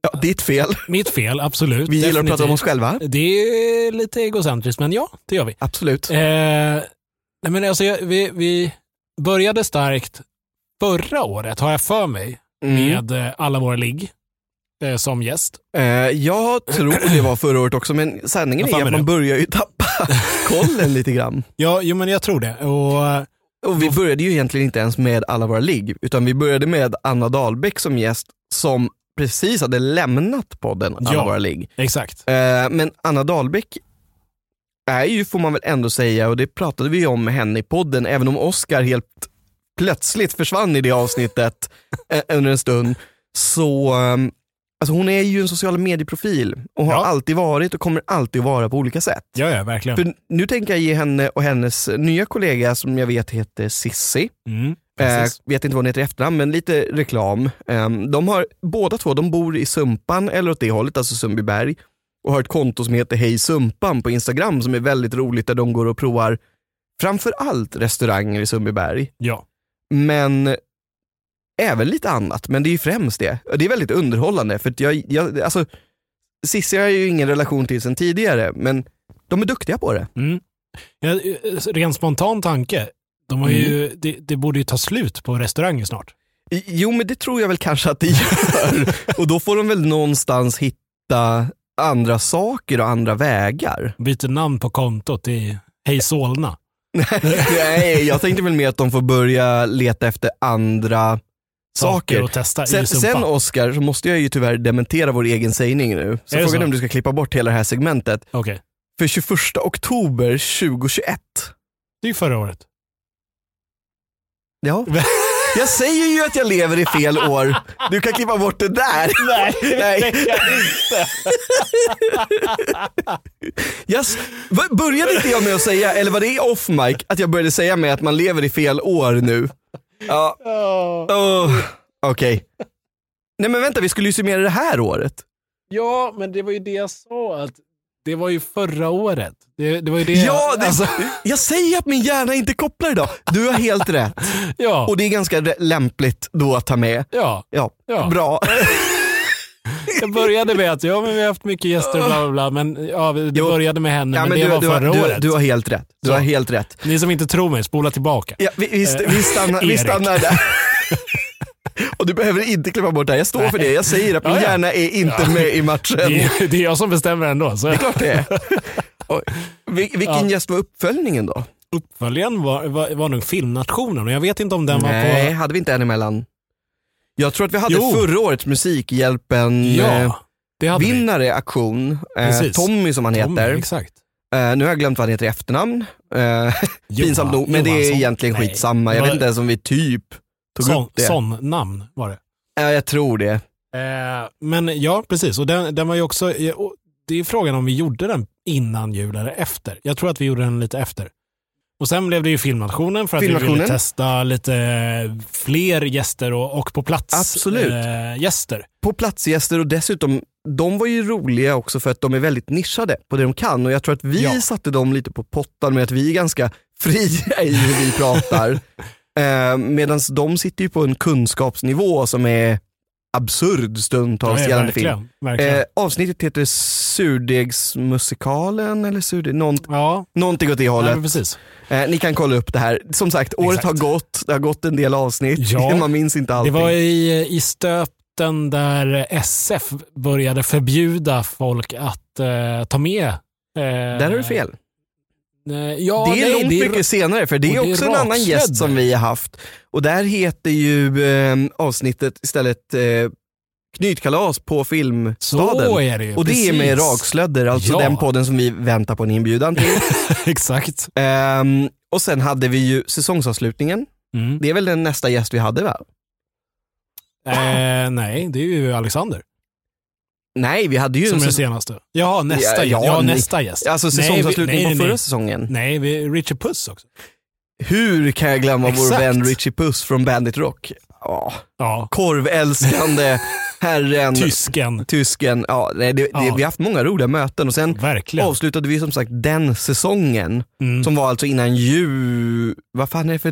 [SPEAKER 2] ja, ditt fel.
[SPEAKER 1] mitt fel, absolut.
[SPEAKER 2] Vi gillar att prata om oss
[SPEAKER 1] Definitivt.
[SPEAKER 2] själva.
[SPEAKER 1] Det är lite egocentriskt, men ja, det gör vi.
[SPEAKER 2] Absolut.
[SPEAKER 1] Eh, nej, men alltså, jag, vi, vi började starkt förra året, har jag för mig,
[SPEAKER 2] Mm.
[SPEAKER 1] med eh, alla våra ligg eh, som gäst.
[SPEAKER 2] Eh, jag tror det var förra året också, men sanningen
[SPEAKER 1] Jag fan
[SPEAKER 2] är att
[SPEAKER 1] med
[SPEAKER 2] man
[SPEAKER 1] det.
[SPEAKER 2] börjar ju tappa kollen lite grann.
[SPEAKER 1] Ja, jo, men jag tror det. Och, eh,
[SPEAKER 2] Och vi började ju egentligen inte ens med alla våra ligg, utan vi började med Anna Dahlbäck som gäst, som precis hade lämnat podden Alla
[SPEAKER 1] Ja.
[SPEAKER 2] våra ligg.
[SPEAKER 1] exakt.
[SPEAKER 2] Eh, Men Anna Dahlbäck är ju, får man väl ändå säga, och det pratade vi om med henne i podden, även om Oscar helt plötsligt försvann i det avsnittet eh, under en stund, så ehm, alltså hon är ju en social medieprofil och har
[SPEAKER 1] Ja.
[SPEAKER 2] alltid varit och kommer alltid vara på olika sätt.
[SPEAKER 1] Ja, ja, verkligen.
[SPEAKER 2] För nu tänker jag ge henne och hennes nya kollega som jag vet heter Sissi,
[SPEAKER 1] Mm,
[SPEAKER 2] Eh,
[SPEAKER 1] precis.
[SPEAKER 2] vet inte vad hon heter i efternamn, men lite reklam. Ehm, de har, båda två de bor i Sumpan, eller åt det hållet, alltså Sundbyberg. Och har ett konto som heter Hej Sumpan på Instagram som är väldigt roligt där de går och provar framför allt restauranger i Sundbyberg.
[SPEAKER 1] ja.
[SPEAKER 2] Men även lite annat, men det är ju främst det. Och Det är väldigt underhållande för att jag, jag alltså Cissi har jag ju ingen relation till sen tidigare, men de är duktiga på det.
[SPEAKER 1] Mm. Ja, eh, ren spontan tanke. De har ju,
[SPEAKER 2] Mm.
[SPEAKER 1] det, det borde ju ta slut på restauranger snart.
[SPEAKER 2] I- Jo, men det tror jag väl kanske att det gör. och då får de väl någonstans hitta andra saker och andra vägar.
[SPEAKER 1] Byter namn på kontot till Hej Solna.
[SPEAKER 2] Nej, jag tänkte väl mer att de får börja leta efter andra saker.
[SPEAKER 1] att testa i
[SPEAKER 2] Sen,
[SPEAKER 1] Sumpan.
[SPEAKER 2] sen Oscar, så måste jag ju tyvärr dementera vår egen sägning nu. Så
[SPEAKER 1] Är det
[SPEAKER 2] frågan
[SPEAKER 1] så?
[SPEAKER 2] är om du ska klippa bort hela det här segmentet.
[SPEAKER 1] Okej,
[SPEAKER 2] För 21 oktober 2021,
[SPEAKER 1] det är ju förra året.
[SPEAKER 2] ja. Jag säger ju att jag lever i fel år. Du kan klippa bort det där.
[SPEAKER 1] Nej,
[SPEAKER 2] Nej.
[SPEAKER 1] det kan jag inte.
[SPEAKER 2] Jag s- va- började inte jag med att säga, eller var det off mic, att jag började säga med att man lever i fel år nu? Ja, oh, okej. Nej men vänta, vi skulle ju summera det här året.
[SPEAKER 1] Ja, men det var ju det jag sa. Att det var ju förra året. Det, det Alltså, var ju det
[SPEAKER 2] Ja, det, jag säger att min hjärna inte kopplar idag. Du har helt rätt.
[SPEAKER 1] ja,
[SPEAKER 2] Och det är ganska re- lämpligt då att ta med.
[SPEAKER 1] ja,
[SPEAKER 2] Ja,
[SPEAKER 1] ja.
[SPEAKER 2] bra.
[SPEAKER 1] Jag började med att ja, men vi har haft mycket gäster och bla bla bla. Men ja, det
[SPEAKER 2] Jo.
[SPEAKER 1] började med henne,
[SPEAKER 2] Ja,
[SPEAKER 1] men,
[SPEAKER 2] men
[SPEAKER 1] det
[SPEAKER 2] du,
[SPEAKER 1] var
[SPEAKER 2] du, har-
[SPEAKER 1] förra
[SPEAKER 2] du,
[SPEAKER 1] året.
[SPEAKER 2] du har helt rätt. Du
[SPEAKER 1] Så.
[SPEAKER 2] har helt rätt.
[SPEAKER 1] Ni som inte tror mig, spola tillbaka.
[SPEAKER 2] Ja, vi, vi, st- vi, stannar, vi
[SPEAKER 1] Eh, Erik.
[SPEAKER 2] stannar där. Och du behöver inte klippa bort det här. Jag står för det. Jag säger att min
[SPEAKER 1] Ja, ja.
[SPEAKER 2] hjärna är inte med i matchen.
[SPEAKER 1] Det är, det är jag som bestämmer ändå. Så.
[SPEAKER 2] klart det är. Oj. Vil- vilken
[SPEAKER 1] Ja.
[SPEAKER 2] gäst var uppföljningen då?
[SPEAKER 1] Uppföljaren var, var, var nog filmnationen och jag vet inte om den var
[SPEAKER 2] Nej,
[SPEAKER 1] på...
[SPEAKER 2] hade vi inte en emellan? Jag tror att vi hade
[SPEAKER 1] Jo.
[SPEAKER 2] förra årets Musikhjälpen eh,
[SPEAKER 1] Ja, det hade vi.
[SPEAKER 2] vinnare aktion. Eh,
[SPEAKER 1] Precis. liksom.
[SPEAKER 2] Tommy som han
[SPEAKER 1] Tom,
[SPEAKER 2] heter.
[SPEAKER 1] Exakt.
[SPEAKER 2] Eh, nu har jag glömt vad han heter i efternamn. Eh, pinsamt nog, men det är
[SPEAKER 1] Johansson.
[SPEAKER 2] egentligen
[SPEAKER 1] Nej.
[SPEAKER 2] skitsamma. Jag
[SPEAKER 1] Det
[SPEAKER 2] vet
[SPEAKER 1] var-
[SPEAKER 2] inte ens om vi typ tog
[SPEAKER 1] Sån,
[SPEAKER 2] upp det.
[SPEAKER 1] sån namn var det.
[SPEAKER 2] Ja, jag tror det.
[SPEAKER 1] Eh, men ja, precis. Och den, den var ju också... eh, och Det är frågan om vi gjorde den innan jul eller efter. Jag tror att vi gjorde den lite efter. Och sen blev det ju Filmnationen för att vi
[SPEAKER 2] Filmnationen.
[SPEAKER 1] ville testa lite fler gäster och, och på plats
[SPEAKER 2] Absolut.
[SPEAKER 1] eh, gäster.
[SPEAKER 2] på platsgäster och dessutom, de var ju roliga också för att de är väldigt nischade på det de kan och jag tror att vi
[SPEAKER 1] Ja.
[SPEAKER 2] satte dem lite på pottan med att vi är ganska fria i hur vi pratar. eh, Medan de sitter ju på en kunskapsnivå som är absurd stundtals
[SPEAKER 1] Ja,
[SPEAKER 2] gällande film.
[SPEAKER 1] verkligen. verkligen.
[SPEAKER 2] Eh, avsnittet heter Surdegsmusikalen eller surdeg, nånt,
[SPEAKER 1] ja,
[SPEAKER 2] någonting åt det
[SPEAKER 1] nej,
[SPEAKER 2] hållet.
[SPEAKER 1] men precis.
[SPEAKER 2] Eh, ni kan kolla upp det här. Som sagt, året
[SPEAKER 1] Exakt.
[SPEAKER 2] har gått, det har gått en del avsnitt,
[SPEAKER 1] Ja.
[SPEAKER 2] man minns inte allting.
[SPEAKER 1] Det var i, i stöpten där SF började förbjuda folk att eh, ta med. eh,
[SPEAKER 2] Där har du fel.
[SPEAKER 1] eh, ja,
[SPEAKER 2] det är
[SPEAKER 1] nej,
[SPEAKER 2] långt
[SPEAKER 1] det är
[SPEAKER 2] mycket senare för det är
[SPEAKER 1] och det är
[SPEAKER 2] också en annan
[SPEAKER 1] raksnödd.
[SPEAKER 2] gäst som vi har haft. Och där heter ju eh, avsnittet istället eh, Knytkalas på Filmstaden.
[SPEAKER 1] Så är det ju.
[SPEAKER 2] och det är med
[SPEAKER 1] precis.
[SPEAKER 2] Rakslödder, alltså
[SPEAKER 1] Ja.
[SPEAKER 2] den podden som vi väntar på en inbjudan till.
[SPEAKER 1] Exakt.
[SPEAKER 2] Ehm, och sen hade vi ju säsongsavslutningen.
[SPEAKER 1] Mm.
[SPEAKER 2] Det är väl den nästa gäst vi hade va?
[SPEAKER 1] Eh, nej, det är ju Alexander
[SPEAKER 2] Nej, vi hade ju
[SPEAKER 1] som är
[SPEAKER 2] en
[SPEAKER 1] den
[SPEAKER 2] säsong,
[SPEAKER 1] senaste. Jaha, nästa,
[SPEAKER 2] Ja,
[SPEAKER 1] ja,
[SPEAKER 2] ja,
[SPEAKER 1] ja,
[SPEAKER 2] nej.
[SPEAKER 1] nästa gäst.
[SPEAKER 2] alltså säsongsavslutningen
[SPEAKER 1] nej, nej,
[SPEAKER 2] på förra
[SPEAKER 1] nej.
[SPEAKER 2] säsongen.
[SPEAKER 1] Nej, vi, Richard Puss också.
[SPEAKER 2] Hur kan jag glömma vår
[SPEAKER 1] Exakt.
[SPEAKER 2] vän Richie Puss från Bandit Rock? Ja,
[SPEAKER 1] Ja,
[SPEAKER 2] korvälskande herren.
[SPEAKER 1] tysken.
[SPEAKER 2] tysken. Ja, nej, det, Det,
[SPEAKER 1] Ja.
[SPEAKER 2] vi har haft många roliga möten och sen
[SPEAKER 1] Verkligen.
[SPEAKER 2] avslutade vi som sagt den säsongen
[SPEAKER 1] Mm.
[SPEAKER 2] som var alltså innan jul... Vad fan är det för...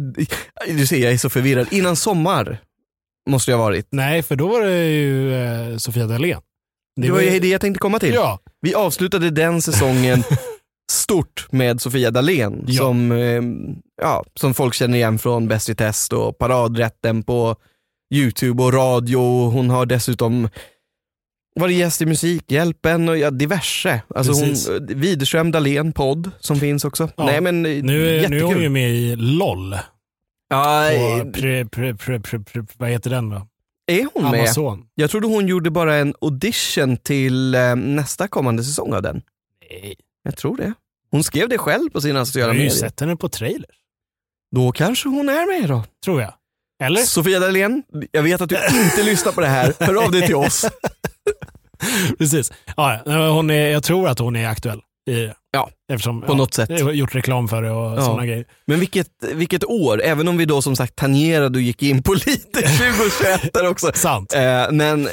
[SPEAKER 2] Du ser, jag är så förvirrad. Innan sommar måste jag ha varit.
[SPEAKER 1] Nej, för då var det ju eh, Sofia Dalén.
[SPEAKER 2] Det, var ju det jag tänkte komma till.
[SPEAKER 1] Ja,
[SPEAKER 2] Vi avslutade den säsongen stort med Sofia Dalén
[SPEAKER 1] Ja.
[SPEAKER 2] som, eh, ja, som folk känner igen från Bäst i test och Paradrätten på YouTube och radio. Hon har dessutom varit gäst i Musikhjälpen och ja, diverse. Alltså
[SPEAKER 1] Precis.
[SPEAKER 2] hon, Widerström Dahlén podd som finns också.
[SPEAKER 1] Ja.
[SPEAKER 2] Nej men eh,
[SPEAKER 1] nu, är-
[SPEAKER 2] jättekul.
[SPEAKER 1] nu är hon ju med i LOL.
[SPEAKER 2] ja, eh,
[SPEAKER 1] På pre, pre, pre, pre, pre, vad heter den då?
[SPEAKER 2] är hon med?
[SPEAKER 1] Amazon.
[SPEAKER 2] Jag trodde hon gjorde bara en audition till eh, nästa kommande säsong av den.
[SPEAKER 1] Nej.
[SPEAKER 2] Jag tror det. Hon skrev det själv på sina
[SPEAKER 1] Jag
[SPEAKER 2] sociala
[SPEAKER 1] har ju
[SPEAKER 2] medier.
[SPEAKER 1] sett henne på trailers,
[SPEAKER 2] Då kanske hon är med då.
[SPEAKER 1] tror jag. Eller?
[SPEAKER 2] Sofia Dalén, jag vet att du inte lyssnar på det här. Hör av dig till oss.
[SPEAKER 1] Precis. Ja, ja, hon är, jag tror att hon är aktuell i det.
[SPEAKER 2] Ja,
[SPEAKER 1] Eftersom,
[SPEAKER 2] på något sätt.
[SPEAKER 1] jag har gjort reklam för det och
[SPEAKER 2] Ja.
[SPEAKER 1] sådana grejer.
[SPEAKER 2] Men vilket, vilket år, även om vi då som sagt tangerade och gick in på lite 2021 där också.
[SPEAKER 1] Sant.
[SPEAKER 2] Eh, men eh,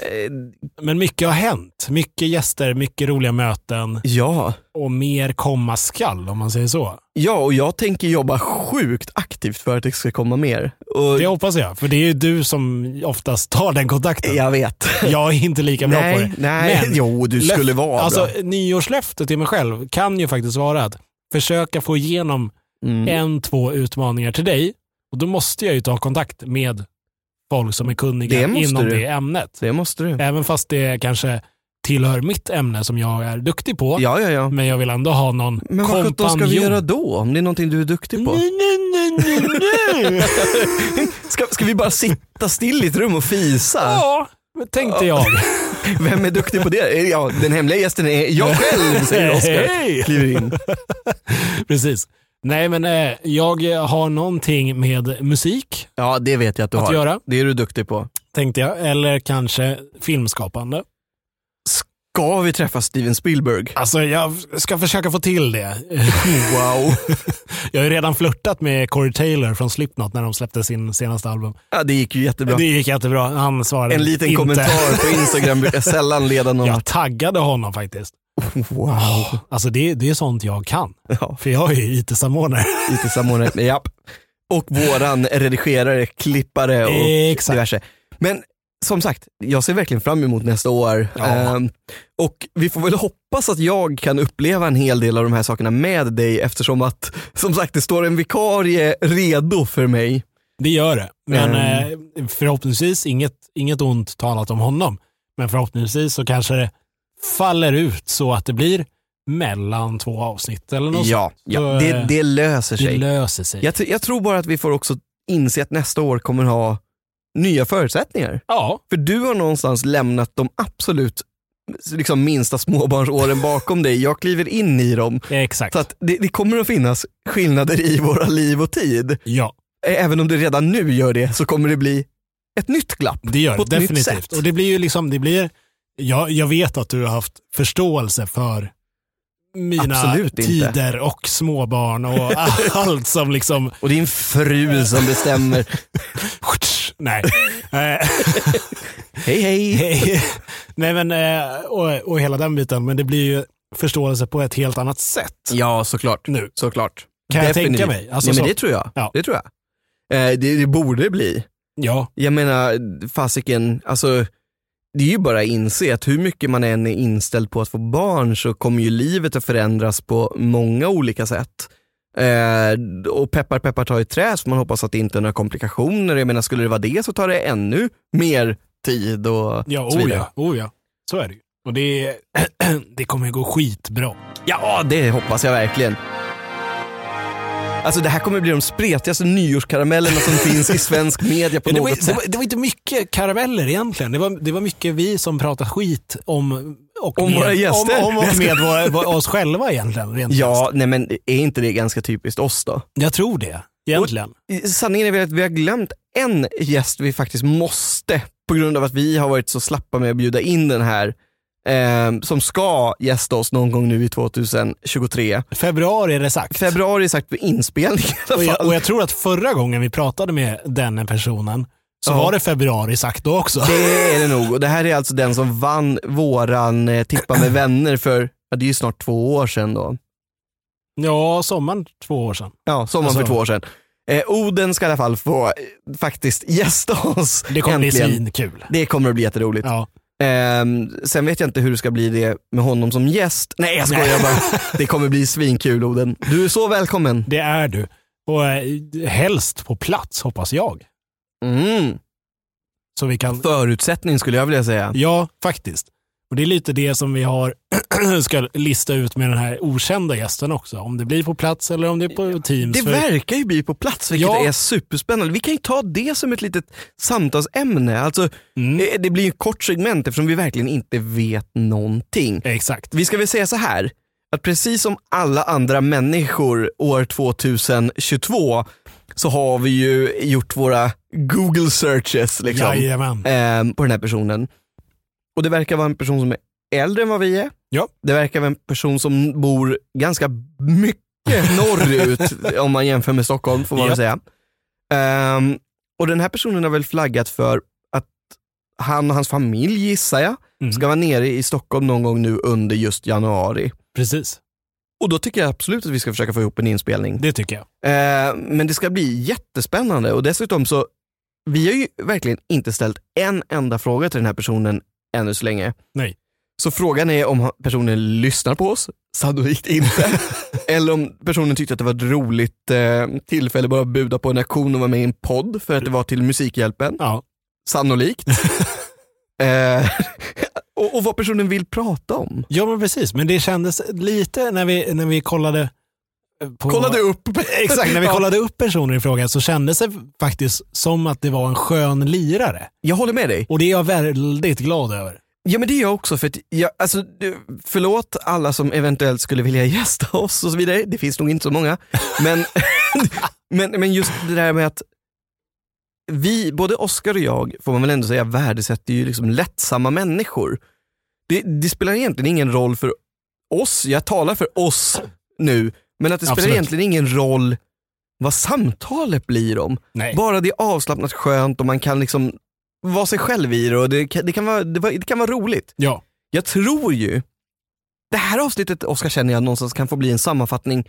[SPEAKER 1] Men mycket har hänt. Mycket gäster, mycket roliga möten
[SPEAKER 2] ja.
[SPEAKER 1] och mer komma skall om man säger så.
[SPEAKER 2] ja, och jag tänker jobba sjukt aktivt för att det ska komma mer. Och
[SPEAKER 1] Det hoppas jag, för det är ju du som oftast tar den kontakten.
[SPEAKER 2] jag vet.
[SPEAKER 1] Jag är inte lika bra på det.
[SPEAKER 2] Nej, nej.
[SPEAKER 1] Men-
[SPEAKER 2] jo du skulle
[SPEAKER 1] Löft-
[SPEAKER 2] vara
[SPEAKER 1] Alltså
[SPEAKER 2] bra.
[SPEAKER 1] nyårslöftet till mig själv kan ju faktiskt vara att försöka få igenom
[SPEAKER 2] Mm.
[SPEAKER 1] en, två utmaningar till dig. Och då måste jag ju ta kontakt med folk som är kunniga
[SPEAKER 2] Det måste
[SPEAKER 1] inom
[SPEAKER 2] du.
[SPEAKER 1] det ämnet.
[SPEAKER 2] Det måste du.
[SPEAKER 1] Även fast det kanske tillhör mitt ämne som jag är duktig på.
[SPEAKER 2] Ja, ja, ja.
[SPEAKER 1] Men jag vill ändå ha någon
[SPEAKER 2] Men vad sjutton ska vi göra då? Om det är någonting du är duktig på?
[SPEAKER 1] Nej, nej, nej, nej, nej.
[SPEAKER 2] Ska, ska vi bara sitta still i ett rum och fisa?
[SPEAKER 1] ja, men tänkte jag.
[SPEAKER 2] Vem är duktig på det? Ja, den hemliga gästen är jag själv, säger Oskar.
[SPEAKER 1] Hej!
[SPEAKER 2] Kliver in.
[SPEAKER 1] Precis. Nej, men eh, jag har någonting med musik
[SPEAKER 2] Ja, det vet jag att du
[SPEAKER 1] att
[SPEAKER 2] har.
[SPEAKER 1] göra.
[SPEAKER 2] Det är du duktig på.
[SPEAKER 1] tänkte jag. Eller kanske filmskapande.
[SPEAKER 2] Ska vi träffa Steven Spielberg?
[SPEAKER 1] Alltså jag ska försöka få till det.
[SPEAKER 2] Wow.
[SPEAKER 1] Jag har ju redan flörtat med Corey Taylor från Slipknot när de släppte sin senaste album.
[SPEAKER 2] Ja, det gick ju jättebra.
[SPEAKER 1] Det gick jättebra. Han svarade
[SPEAKER 2] En liten
[SPEAKER 1] inte.
[SPEAKER 2] kommentar på Instagram brukar sällan leda någon.
[SPEAKER 1] Jag taggade honom faktiskt.
[SPEAKER 2] Wow.
[SPEAKER 1] Alltså det, det är sånt jag kan.
[SPEAKER 2] Ja,
[SPEAKER 1] För jag är ju IT-samordnare.
[SPEAKER 2] IT-samordnare. Japp. Och våran redigerare, klippare
[SPEAKER 1] Eh,
[SPEAKER 2] och
[SPEAKER 1] Exakt.
[SPEAKER 2] diverse. Men som sagt, jag ser verkligen fram emot nästa år.
[SPEAKER 1] Ja.
[SPEAKER 2] Ehm, och vi får väl hoppas att jag kan uppleva en hel del av de här sakerna med dig eftersom att, som sagt, det står en vikarie redo för mig.
[SPEAKER 1] Det gör det. Men
[SPEAKER 2] Mm.
[SPEAKER 1] eh, förhoppningsvis, inget, inget ont talat om honom, men förhoppningsvis så kanske det faller ut så att det blir mellan två avsnitt eller något
[SPEAKER 2] Ja, ja.
[SPEAKER 1] Så,
[SPEAKER 2] Det,
[SPEAKER 1] eh,
[SPEAKER 2] det löser
[SPEAKER 1] sånt. Det
[SPEAKER 2] sig.
[SPEAKER 1] löser sig.
[SPEAKER 2] Jag, tr- jag tror bara att vi får också inse att nästa år kommer ha nya förutsättningar.
[SPEAKER 1] Ja,
[SPEAKER 2] För du har någonstans lämnat de absolut liksom, minsta småbarnsåren bakom dig. Jag kliver in i dem.
[SPEAKER 1] exakt.
[SPEAKER 2] Så att det, det kommer att finnas skillnader i våra liv och tid. Ä-
[SPEAKER 1] ja,
[SPEAKER 2] Även om det redan nu gör det så kommer det bli ett nytt glapp.
[SPEAKER 1] det gör
[SPEAKER 2] På
[SPEAKER 1] det
[SPEAKER 2] ett nytt
[SPEAKER 1] definitivt.
[SPEAKER 2] sätt.
[SPEAKER 1] Och det blir ju liksom, det blir, jag, jag vet att du har haft förståelse för mina
[SPEAKER 2] Absolut inte.
[SPEAKER 1] tider och småbarn och allt som liksom,
[SPEAKER 2] Och din fru som bestämmer.
[SPEAKER 1] nej. Eh,
[SPEAKER 2] Hej hej.
[SPEAKER 1] Hej. Nej men, eh, och, och hela den biten, men det blir ju förståelse på ett helt annat sätt.
[SPEAKER 2] Ja såklart.
[SPEAKER 1] Nu.
[SPEAKER 2] såklart.
[SPEAKER 1] Kan jag
[SPEAKER 2] Definitivt.
[SPEAKER 1] tänka mig. Alltså,
[SPEAKER 2] Nej, men
[SPEAKER 1] så,
[SPEAKER 2] det tror jag.
[SPEAKER 1] Ja.
[SPEAKER 2] Det, tror jag. Eh, det, det borde det bli.
[SPEAKER 1] ja,
[SPEAKER 2] Jag menar, fasiken, alltså det är ju bara att inse att hur mycket man än är inställd på att få barn så kommer ju livet att förändras på många olika sätt. Eh, och peppar peppar tar i trä så man hoppas att det inte är några komplikationer. Jag menar skulle det vara det så tar det ännu mer tid och
[SPEAKER 1] ja,
[SPEAKER 2] så
[SPEAKER 1] oh ja, oh ja. Så är det ju. Och det, det kommer ju gå skitbra.
[SPEAKER 2] Ja, det hoppas jag verkligen. Alltså det här kommer bli de spretigaste nyårskaramellerna som finns i svensk media på
[SPEAKER 1] Men det, var,
[SPEAKER 2] något
[SPEAKER 1] det,
[SPEAKER 2] sätt.
[SPEAKER 1] var, det var inte mycket karameller egentligen. Det var, det var mycket vi som pratade skit om och
[SPEAKER 2] Om
[SPEAKER 1] med,
[SPEAKER 2] våra gäster.
[SPEAKER 1] Om, om och med våra, vår- oss själva egentligen. Rent krasst.
[SPEAKER 2] Ja, nej men är inte det ganska typiskt oss då?
[SPEAKER 1] Jag tror det, egentligen.
[SPEAKER 2] Sanningen är väl att vi har glömt en gäst vi faktiskt måste, på grund av att vi har varit så slappa med att bjuda in den här, eh, som ska gästa oss någon gång nu i 2023.
[SPEAKER 1] Februari är det sagt.
[SPEAKER 2] Februari är sagt för inspelning
[SPEAKER 1] Och
[SPEAKER 2] i alla
[SPEAKER 1] jag,
[SPEAKER 2] fall.
[SPEAKER 1] och jag tror att förra gången vi pratade med den personen så
[SPEAKER 2] Ja.
[SPEAKER 1] var det februari sagt då också.
[SPEAKER 2] Det är det nog. Och det här är alltså den som vann våran eh, Tippa med vänner för, ja, det är ju snart två år sedan då.
[SPEAKER 1] Ja, sommaren två år sedan.
[SPEAKER 2] Ja, sommaren
[SPEAKER 1] Alltså.
[SPEAKER 2] för två år sedan. Eh, Oden ska i alla fall få eh, faktiskt gästa oss.
[SPEAKER 1] Det kommer bli
[SPEAKER 2] äntligen.
[SPEAKER 1] svinkul.
[SPEAKER 2] Det kommer att bli jätteroligt.
[SPEAKER 1] Ja.
[SPEAKER 2] Ehm, sen vet jag inte hur det ska bli det med honom som gäst. Nej jag skojar
[SPEAKER 1] Nej.
[SPEAKER 2] bara. Det kommer bli svinkul Oden. Du är så välkommen.
[SPEAKER 1] Det är du. Och eh, helst på plats hoppas jag.
[SPEAKER 2] Mm.
[SPEAKER 1] Så vi kan...
[SPEAKER 2] Förutsättning skulle jag vilja säga.
[SPEAKER 1] Ja, faktiskt. Och Det är lite det som vi har ska lista ut med den här okända gästen också. Om det blir på plats eller om det är på Teams.
[SPEAKER 2] Det
[SPEAKER 1] För-
[SPEAKER 2] verkar ju bli på plats vilket
[SPEAKER 1] Ja.
[SPEAKER 2] är superspännande. Vi kan ju ta det som ett litet samtalsämne. Alltså,
[SPEAKER 1] mm,
[SPEAKER 2] eh, det blir ju ett kort segment eftersom vi verkligen inte vet någonting.
[SPEAKER 1] exakt.
[SPEAKER 2] Vi ska väl säga så här. att precis som alla andra människor år 2022 så har vi ju gjort våra Google searches liksom,
[SPEAKER 1] Jajamän.
[SPEAKER 2] ehm, på den här personen. Och det verkar vara en person som är äldre än vad vi är.
[SPEAKER 1] Ja.
[SPEAKER 2] Det verkar vara en person som bor ganska mycket norrut om man jämför med Stockholm får man väl
[SPEAKER 1] Japp.
[SPEAKER 2] säga. Ehm, och den här personen har väl flaggat för att han och hans familj gissar jag
[SPEAKER 1] Mm.
[SPEAKER 2] ska vara nere i Stockholm någon gång nu under just januari.
[SPEAKER 1] Precis.
[SPEAKER 2] Och då tycker jag absolut att vi ska försöka få ihop en inspelning.
[SPEAKER 1] Det tycker jag.
[SPEAKER 2] Eh, men det ska bli jättespännande och dessutom så, vi har ju verkligen inte ställt en enda fråga till den här personen ännu så länge.
[SPEAKER 1] Nej.
[SPEAKER 2] Så frågan är om personen lyssnar på oss, sannolikt inte. Eller om personen tyckte att det var ett roligt eh, tillfälle bara att buda på en auktion och vara med i en podd för att det var till Musikhjälpen,
[SPEAKER 1] Ja.
[SPEAKER 2] sannolikt. eh, och, och vad personen vill prata om.
[SPEAKER 1] ja, men precis. Men det kändes lite när vi, när vi kollade eh, på...
[SPEAKER 2] Kollade upp.
[SPEAKER 1] Exakt, när vi
[SPEAKER 2] Ja.
[SPEAKER 1] kollade upp personer i fråga så kändes det faktiskt som att det var en skön lirare.
[SPEAKER 2] Jag håller med dig.
[SPEAKER 1] Och det är jag väldigt glad över.
[SPEAKER 2] Ja men det är jag också, för att jag, alltså, du- förlåt alla som eventuellt skulle vilja gästa oss och så vidare, det finns nog inte så många. Men, men, men just det där med att vi, både Oscar och jag, får man väl ändå säga, värdesätter ju liksom lättsamma människor. Det, det spelar egentligen ingen roll för oss, jag talar för oss nu, men att det spelar
[SPEAKER 1] Absolut.
[SPEAKER 2] egentligen ingen roll vad samtalet blir om.
[SPEAKER 1] Nej.
[SPEAKER 2] Bara det är avslappnat skönt och man kan liksom vara sig själv i det och det kan, det kan, vara, det, var- det kan vara roligt.
[SPEAKER 1] Ja,
[SPEAKER 2] Jag tror ju, det här avsnittet Oskar känner jag någonstans kan få bli en sammanfattning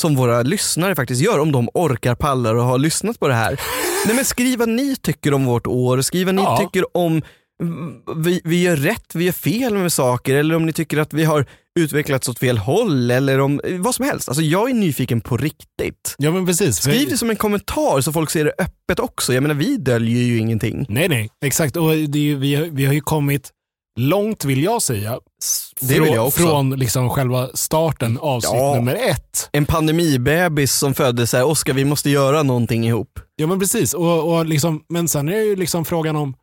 [SPEAKER 2] som våra lyssnare faktiskt gör om de orkar, pallar och har lyssnat på det här. Nej men skriv vad ni tycker om vårt år, skriv vad ni
[SPEAKER 1] Ja.
[SPEAKER 2] tycker om mm, vi, vi gör rätt, vi gör fel med saker eller om ni tycker att vi har utvecklats åt fel håll eller om vad som helst. Alltså jag är nyfiken på riktigt.
[SPEAKER 1] ja men precis. För-
[SPEAKER 2] Skriv det som en kommentar så folk ser det öppet också. Jag menar vi döljer ju ingenting.
[SPEAKER 1] Nej, nej. Exakt. Och det är ju, vi, har, vi har ju kommit långt, vill jag säga. s-
[SPEAKER 2] Det vill
[SPEAKER 1] från,
[SPEAKER 2] jag också.
[SPEAKER 1] Från liksom själva starten, avsnitt
[SPEAKER 2] Ja.
[SPEAKER 1] nummer ett.
[SPEAKER 2] En pandemibebis som föddes här, Oskar vi måste göra någonting ihop.
[SPEAKER 1] Ja, men precis. Och, och liksom, men sen är det ju liksom frågan om,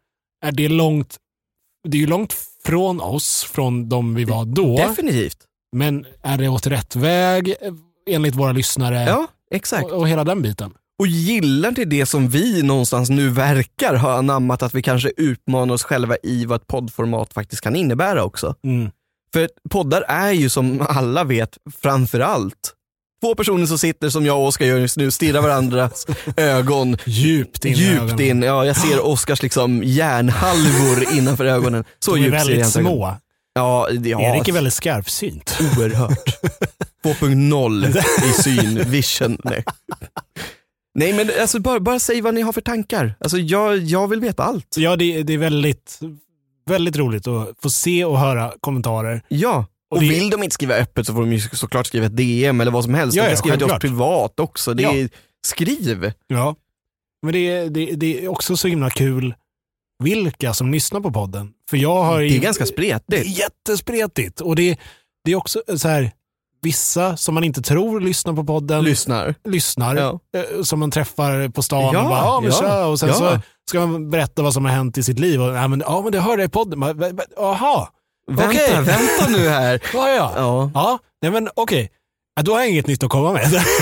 [SPEAKER 1] är det långt, det är ju långt från oss, från de vi var då.
[SPEAKER 2] Definitivt.
[SPEAKER 1] Men är det åt rätt väg eh, enligt våra lyssnare?
[SPEAKER 2] Ja, exakt.
[SPEAKER 1] och, och hela den biten.
[SPEAKER 2] Och gillar ni det som vi någonstans nu verkar ha anammat, att vi kanske utmanar oss själva i vad ett poddformat faktiskt kan innebära också.
[SPEAKER 1] Mm.
[SPEAKER 2] För poddar är ju som alla vet, framför allt två personer som sitter som jag och Oskar gör just nu, stirrar varandras ögon
[SPEAKER 1] Djupt in i
[SPEAKER 2] djupt
[SPEAKER 1] ögonen.
[SPEAKER 2] in. Ja, jag ser Oskars liksom hjärnhalvor innanför ögonen. Så
[SPEAKER 1] De är
[SPEAKER 2] djupt ser
[SPEAKER 1] väldigt
[SPEAKER 2] hans ögon.
[SPEAKER 1] små.
[SPEAKER 2] Ja, det- ja,
[SPEAKER 1] Erik är väldigt skarpsynt.
[SPEAKER 2] oerhört. 2.0 i syn, vision. Nej, Nej men alltså, bara, bara säg vad ni har för tankar. Alltså, jag, jag vill veta allt.
[SPEAKER 1] Så ja, det, det är väldigt, väldigt roligt att få se och höra kommentarer.
[SPEAKER 2] Ja. Och,
[SPEAKER 1] Och det-
[SPEAKER 2] vill de inte skriva öppet så får de ju såklart skriva ett DM eller vad som helst.
[SPEAKER 1] Ja,
[SPEAKER 2] de
[SPEAKER 1] ja,
[SPEAKER 2] kan skriva till oss
[SPEAKER 1] självklart.
[SPEAKER 2] privat också. Det är, Skriv!
[SPEAKER 1] Ja. Men det, är- det, det är också så himla kul vilka som lyssnar på podden. För jag har ju-
[SPEAKER 2] Det är ganska
[SPEAKER 1] det är
[SPEAKER 2] spretigt.
[SPEAKER 1] jättespretigt. Och det, det är också så här, vissa som man inte tror lyssnar på podden,
[SPEAKER 2] Lyssnar.
[SPEAKER 1] lyssnar.
[SPEAKER 2] Ja.
[SPEAKER 1] eh, Som man träffar på stan
[SPEAKER 2] Ja,
[SPEAKER 1] och bara, ja men
[SPEAKER 2] ja,
[SPEAKER 1] tja. Och sen
[SPEAKER 2] ja.
[SPEAKER 1] så ska man berätta vad som har hänt i sitt liv. Och, ja men, ja, men det hörde jag i podden. Bara, "Va- va- Jaha,
[SPEAKER 2] Vänta,
[SPEAKER 1] Okej.
[SPEAKER 2] vänta nu här.
[SPEAKER 1] ja ja.
[SPEAKER 2] Ja.
[SPEAKER 1] Ja, nej men okej. Ja, Då har jag inget nytt att komma med.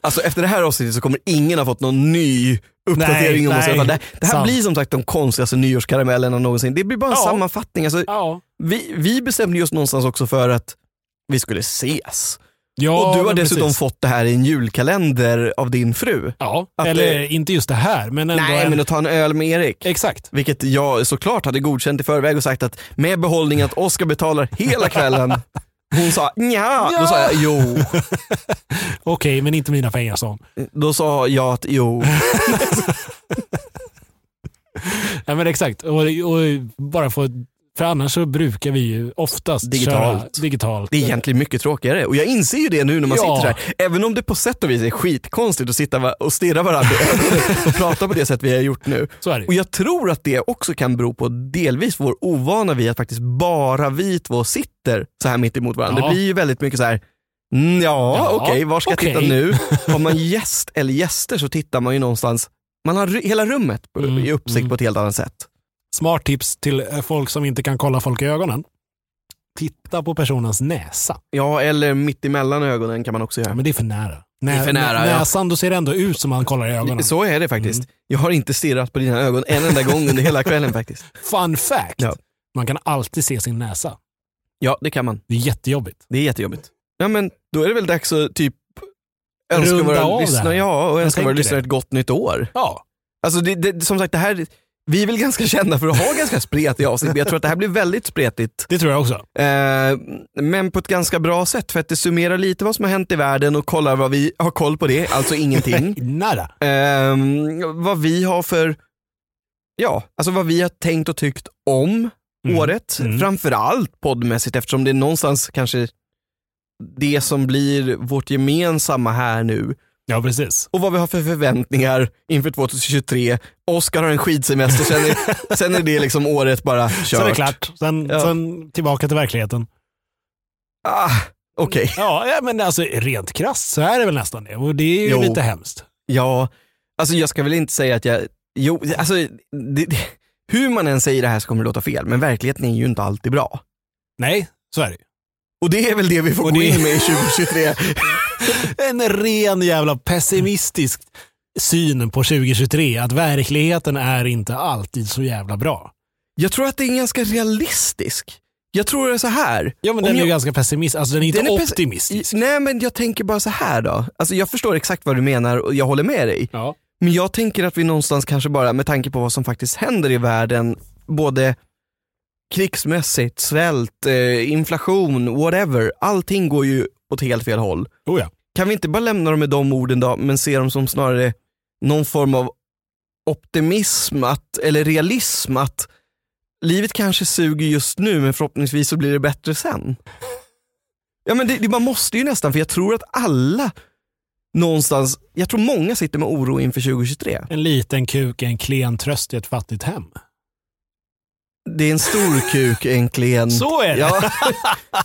[SPEAKER 2] Alltså efter det här avsnittet så kommer ingen ha fått någon ny uppdatering
[SPEAKER 1] Nej,
[SPEAKER 2] om oss. i alla fall. Det,
[SPEAKER 1] nej.
[SPEAKER 2] det här
[SPEAKER 1] Sant.
[SPEAKER 2] blir som sagt de konstigaste nyårskaramellerna någonsin. Det blir bara en
[SPEAKER 1] Ja.
[SPEAKER 2] sammanfattning. Alltså,
[SPEAKER 1] ja.
[SPEAKER 2] vi, vi bestämde just någonstans också för att vi skulle ses.
[SPEAKER 1] Ja,
[SPEAKER 2] och du har
[SPEAKER 1] men
[SPEAKER 2] dessutom
[SPEAKER 1] precis.
[SPEAKER 2] fått det här i en julkalender av din fru.
[SPEAKER 1] Ja,
[SPEAKER 2] att
[SPEAKER 1] eller
[SPEAKER 2] det-
[SPEAKER 1] inte just det här, men ändå.
[SPEAKER 2] Nej,
[SPEAKER 1] en...
[SPEAKER 2] men att ta en öl med Erik.
[SPEAKER 1] Exakt.
[SPEAKER 2] Vilket jag såklart hade godkänt i förväg och sagt att med behållning att Oskar betalar hela kvällen. Hon sa nja, då sa jag jo.
[SPEAKER 1] Okej, men inte mina pengar sa hon.
[SPEAKER 2] Då sa jag att jo.
[SPEAKER 1] Nej, men exakt. Och, och bara få, för annars så brukar vi ju oftast
[SPEAKER 2] Digitalt.
[SPEAKER 1] köra digitalt.
[SPEAKER 2] Det är egentligen mycket tråkigare och jag inser ju det nu när man
[SPEAKER 1] Ja.
[SPEAKER 2] sitter där. Även om det på sätt och vis är skitkonstigt att sitta va- och stirra varandra i ögonen och prata på det sätt vi har gjort nu.
[SPEAKER 1] Så är det.
[SPEAKER 2] Och jag tror att det också kan bero på delvis vår ovana vid att faktiskt bara vi två sitter så här mitt emot varandra.
[SPEAKER 1] Ja.
[SPEAKER 2] Det blir ju väldigt mycket så här, "Mm, ja,
[SPEAKER 1] Ja,
[SPEAKER 2] okej, var ska
[SPEAKER 1] okej."
[SPEAKER 2] jag titta nu? Har man gäst eller gäster så tittar man ju någonstans, man har ru- hela rummet på-
[SPEAKER 1] Mm,
[SPEAKER 2] i uppsikt
[SPEAKER 1] mm.
[SPEAKER 2] på ett helt annat sätt.
[SPEAKER 1] Smart tips till eh, folk som inte kan kolla folk i ögonen. titta på personens näsa.
[SPEAKER 2] Ja, eller mitt emellan ögonen kan man också
[SPEAKER 1] Ja,
[SPEAKER 2] göra.
[SPEAKER 1] men det är för nära.
[SPEAKER 2] är
[SPEAKER 1] Nä-
[SPEAKER 2] för nära, ja.
[SPEAKER 1] Näsan, då ser det ändå ut som man kollar i ögonen.
[SPEAKER 2] Så är det faktiskt.
[SPEAKER 1] Mm.
[SPEAKER 2] Jag har inte stirrat på dina ögon en enda gång under hela kvällen faktiskt.
[SPEAKER 1] Fun fact!
[SPEAKER 2] Ja.
[SPEAKER 1] Man kan alltid se sin näsa.
[SPEAKER 2] Ja, det kan man.
[SPEAKER 1] Det är jättejobbigt.
[SPEAKER 2] Det är jättejobbigt. Ja, men då är det väl dags att typ önska
[SPEAKER 1] Runda av
[SPEAKER 2] våra
[SPEAKER 1] det här.
[SPEAKER 2] lyssnare, ja, och önska våra
[SPEAKER 1] tänker
[SPEAKER 2] lyssnare
[SPEAKER 1] det.
[SPEAKER 2] ett gott nytt år.
[SPEAKER 1] Ja.
[SPEAKER 2] Alltså det, det, som sagt, det här, vi är väl ganska kända för att ha ganska spretiga avsnitt, men jag tror att det här blir väldigt spretigt.
[SPEAKER 1] Det tror jag också.
[SPEAKER 2] Eh, men på ett ganska bra sätt, för att det summerar lite vad som har hänt i världen och kollar vad vi har koll på det, alltså ingenting.
[SPEAKER 1] Nära.
[SPEAKER 2] Eh, vad vi har för, ja, alltså vad vi har tänkt och tyckt om
[SPEAKER 1] Mm.
[SPEAKER 2] året.
[SPEAKER 1] Mm.
[SPEAKER 2] Framförallt poddmässigt eftersom det är någonstans kanske det som blir vårt gemensamma här nu.
[SPEAKER 1] Ja, precis.
[SPEAKER 2] Och vad vi har för förväntningar inför 2023. Oskar har en skidsemester, sen är, sen är det liksom året bara kört.
[SPEAKER 1] Sen är det klart. Sen,
[SPEAKER 2] Ja.
[SPEAKER 1] sen tillbaka till verkligheten.
[SPEAKER 2] Ah, Okej,
[SPEAKER 1] Ja, ja, men alltså rent krasst så är det väl nästan det. Och det är ju
[SPEAKER 2] Jo.
[SPEAKER 1] lite hemskt.
[SPEAKER 2] ja. Alltså jag ska väl inte säga att jag, jo, alltså det, det, hur man än säger det här så kommer det låta fel, men verkligheten är ju inte alltid bra.
[SPEAKER 1] Nej, så är det ju.
[SPEAKER 2] Och det är väl det vi får
[SPEAKER 1] Och
[SPEAKER 2] gå
[SPEAKER 1] det-
[SPEAKER 2] in med i 2023.
[SPEAKER 1] En ren jävla pessimistisk syn på 2023. Att verkligheten är inte alltid så jävla bra.
[SPEAKER 2] Jag tror att det är ganska realistisk. Jag tror det är så här.
[SPEAKER 1] Ja, men
[SPEAKER 2] Om
[SPEAKER 1] den är
[SPEAKER 2] jag-
[SPEAKER 1] ju ganska pessimistisk. Alltså den är inte
[SPEAKER 2] Den är pessi-
[SPEAKER 1] optimistisk.
[SPEAKER 2] Nej men jag tänker bara så här då. Alltså jag förstår exakt vad du menar och jag håller med dig.
[SPEAKER 1] Ja.
[SPEAKER 2] Men jag tänker att vi någonstans kanske bara med tanke på vad som faktiskt händer i världen, både krigsmässigt, svält, eh, inflation, whatever. Allting går ju åt helt fel håll.
[SPEAKER 1] Oh ja.
[SPEAKER 2] Kan vi inte bara lämna dem med de orden då, men se dem som snarare någon form av optimism att, eller realism att livet kanske suger just nu men förhoppningsvis så blir det bättre sen. Ja men det, det, man måste ju nästan för jag tror att alla någonstans, jag tror många sitter med oro inför 2023.
[SPEAKER 1] En liten kuk är en klen tröst i ett fattigt hem.
[SPEAKER 2] Mm. Det är en stor kuk, en klen...
[SPEAKER 1] Så är det.
[SPEAKER 2] Ja,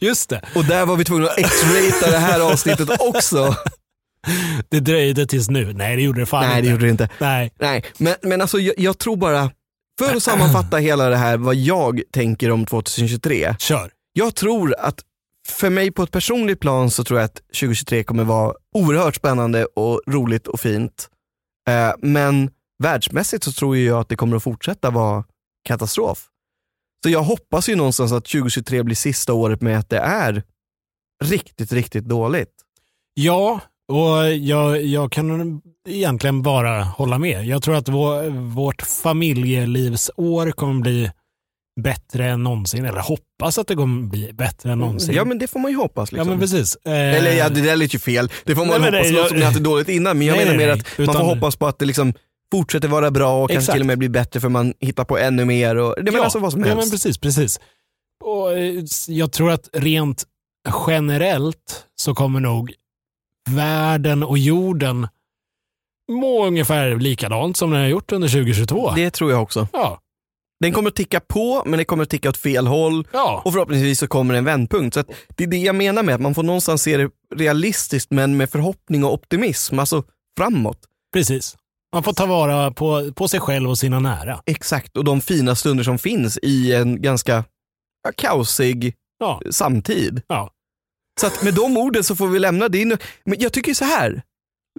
[SPEAKER 1] Just det.
[SPEAKER 2] och där var vi tvungna att x-rata det här avsnittet också.
[SPEAKER 1] Det dröjde tills nu. Nej, det gjorde det fan
[SPEAKER 2] Nej det
[SPEAKER 1] inte.
[SPEAKER 2] gjorde det inte.
[SPEAKER 1] Nej.
[SPEAKER 2] Nej, men, men alltså jag, jag tror bara, för att sammanfatta hela det här vad jag tänker om 2023.
[SPEAKER 1] Kör.
[SPEAKER 2] Jag tror att för mig på ett personligt plan så tror jag att 2023 kommer vara oerhört spännande och roligt och fint. Eh, men världsmässigt så tror ju jag att det kommer att fortsätta vara katastrof. Så jag hoppas ju någonstans att 2023 blir sista året med att det är riktigt, riktigt dåligt.
[SPEAKER 1] Ja, och jag, jag kan egentligen bara hålla med. Jag tror att vår, vårt familjelivsår kommer bli bättre än någonsin. Eller hoppas att det kommer bli bättre än någonsin.
[SPEAKER 2] Ja men det får man ju hoppas.
[SPEAKER 1] Ja,
[SPEAKER 2] Liksom.
[SPEAKER 1] men precis. Eh,
[SPEAKER 2] Eller ja, det där lät ju fel. Det får
[SPEAKER 1] Nej,
[SPEAKER 2] man
[SPEAKER 1] men
[SPEAKER 2] hoppas
[SPEAKER 1] nej,
[SPEAKER 2] låter
[SPEAKER 1] jag-
[SPEAKER 2] som ni haft det dåligt innan. Men jag
[SPEAKER 1] Nej,
[SPEAKER 2] menar
[SPEAKER 1] nej,
[SPEAKER 2] mer
[SPEAKER 1] nej.
[SPEAKER 2] att man
[SPEAKER 1] Utan-
[SPEAKER 2] får hoppas på att det liksom fortsätter vara bra och kanske
[SPEAKER 1] Exakt.
[SPEAKER 2] till och med blir bättre för man hittar på ännu mer. Och, det menar alltså vad som
[SPEAKER 1] ja,
[SPEAKER 2] helst.
[SPEAKER 1] men precis, precis. Och eh, jag tror att rent generellt så kommer nog världen och jorden må ungefär likadant som den har gjort under 2022.
[SPEAKER 2] Det tror jag också.
[SPEAKER 1] Ja,
[SPEAKER 2] Den kommer att ticka på, men den kommer att ticka åt fel håll.
[SPEAKER 1] ja.
[SPEAKER 2] Och förhoppningsvis så kommer en vändpunkt. Så att det är det jag menar med att man får någonstans se det realistiskt men med förhoppning och optimism. Alltså framåt.
[SPEAKER 1] Precis. Man får ta vara på, på sig själv och sina nära.
[SPEAKER 2] Exakt. Och de fina stunder som finns i en ganska ja, kaosig
[SPEAKER 1] Ja,
[SPEAKER 2] samtid.
[SPEAKER 1] Ja.
[SPEAKER 2] Så att med de orden så får vi lämna din... Men jag tycker så här,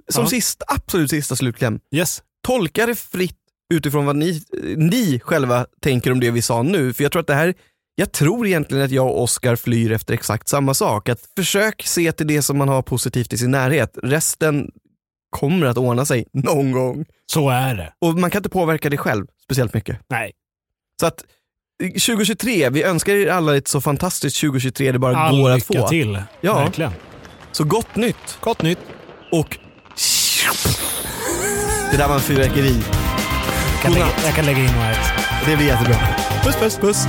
[SPEAKER 2] som
[SPEAKER 1] Ja.
[SPEAKER 2] sista, absolut sista slutkläm.
[SPEAKER 1] yes.
[SPEAKER 2] Tolka det fritt utifrån vad ni, eh, ni själva tänker om det vi sa nu. För jag tror att det här, jag tror egentligen att jag och Oscar flyr efter exakt samma sak. Att försök se till det som man har positivt i sin närhet. Resten kommer att ordna sig någon gång.
[SPEAKER 1] Så är det.
[SPEAKER 2] Och man kan inte påverka det själv speciellt mycket.
[SPEAKER 1] Nej,
[SPEAKER 2] Så att eh, 2023, vi önskar er alla ett så fantastiskt 2023 det bara
[SPEAKER 1] all
[SPEAKER 2] går att få.
[SPEAKER 1] lycka till.
[SPEAKER 2] Ja.
[SPEAKER 1] Verkligen.
[SPEAKER 2] Så gott nytt
[SPEAKER 1] Gott nytt.
[SPEAKER 2] och det där var en fyrverkeri.
[SPEAKER 1] Jag kan lägga, jag kan lägga in några.
[SPEAKER 2] Det blir jättebra. Puss puss puss.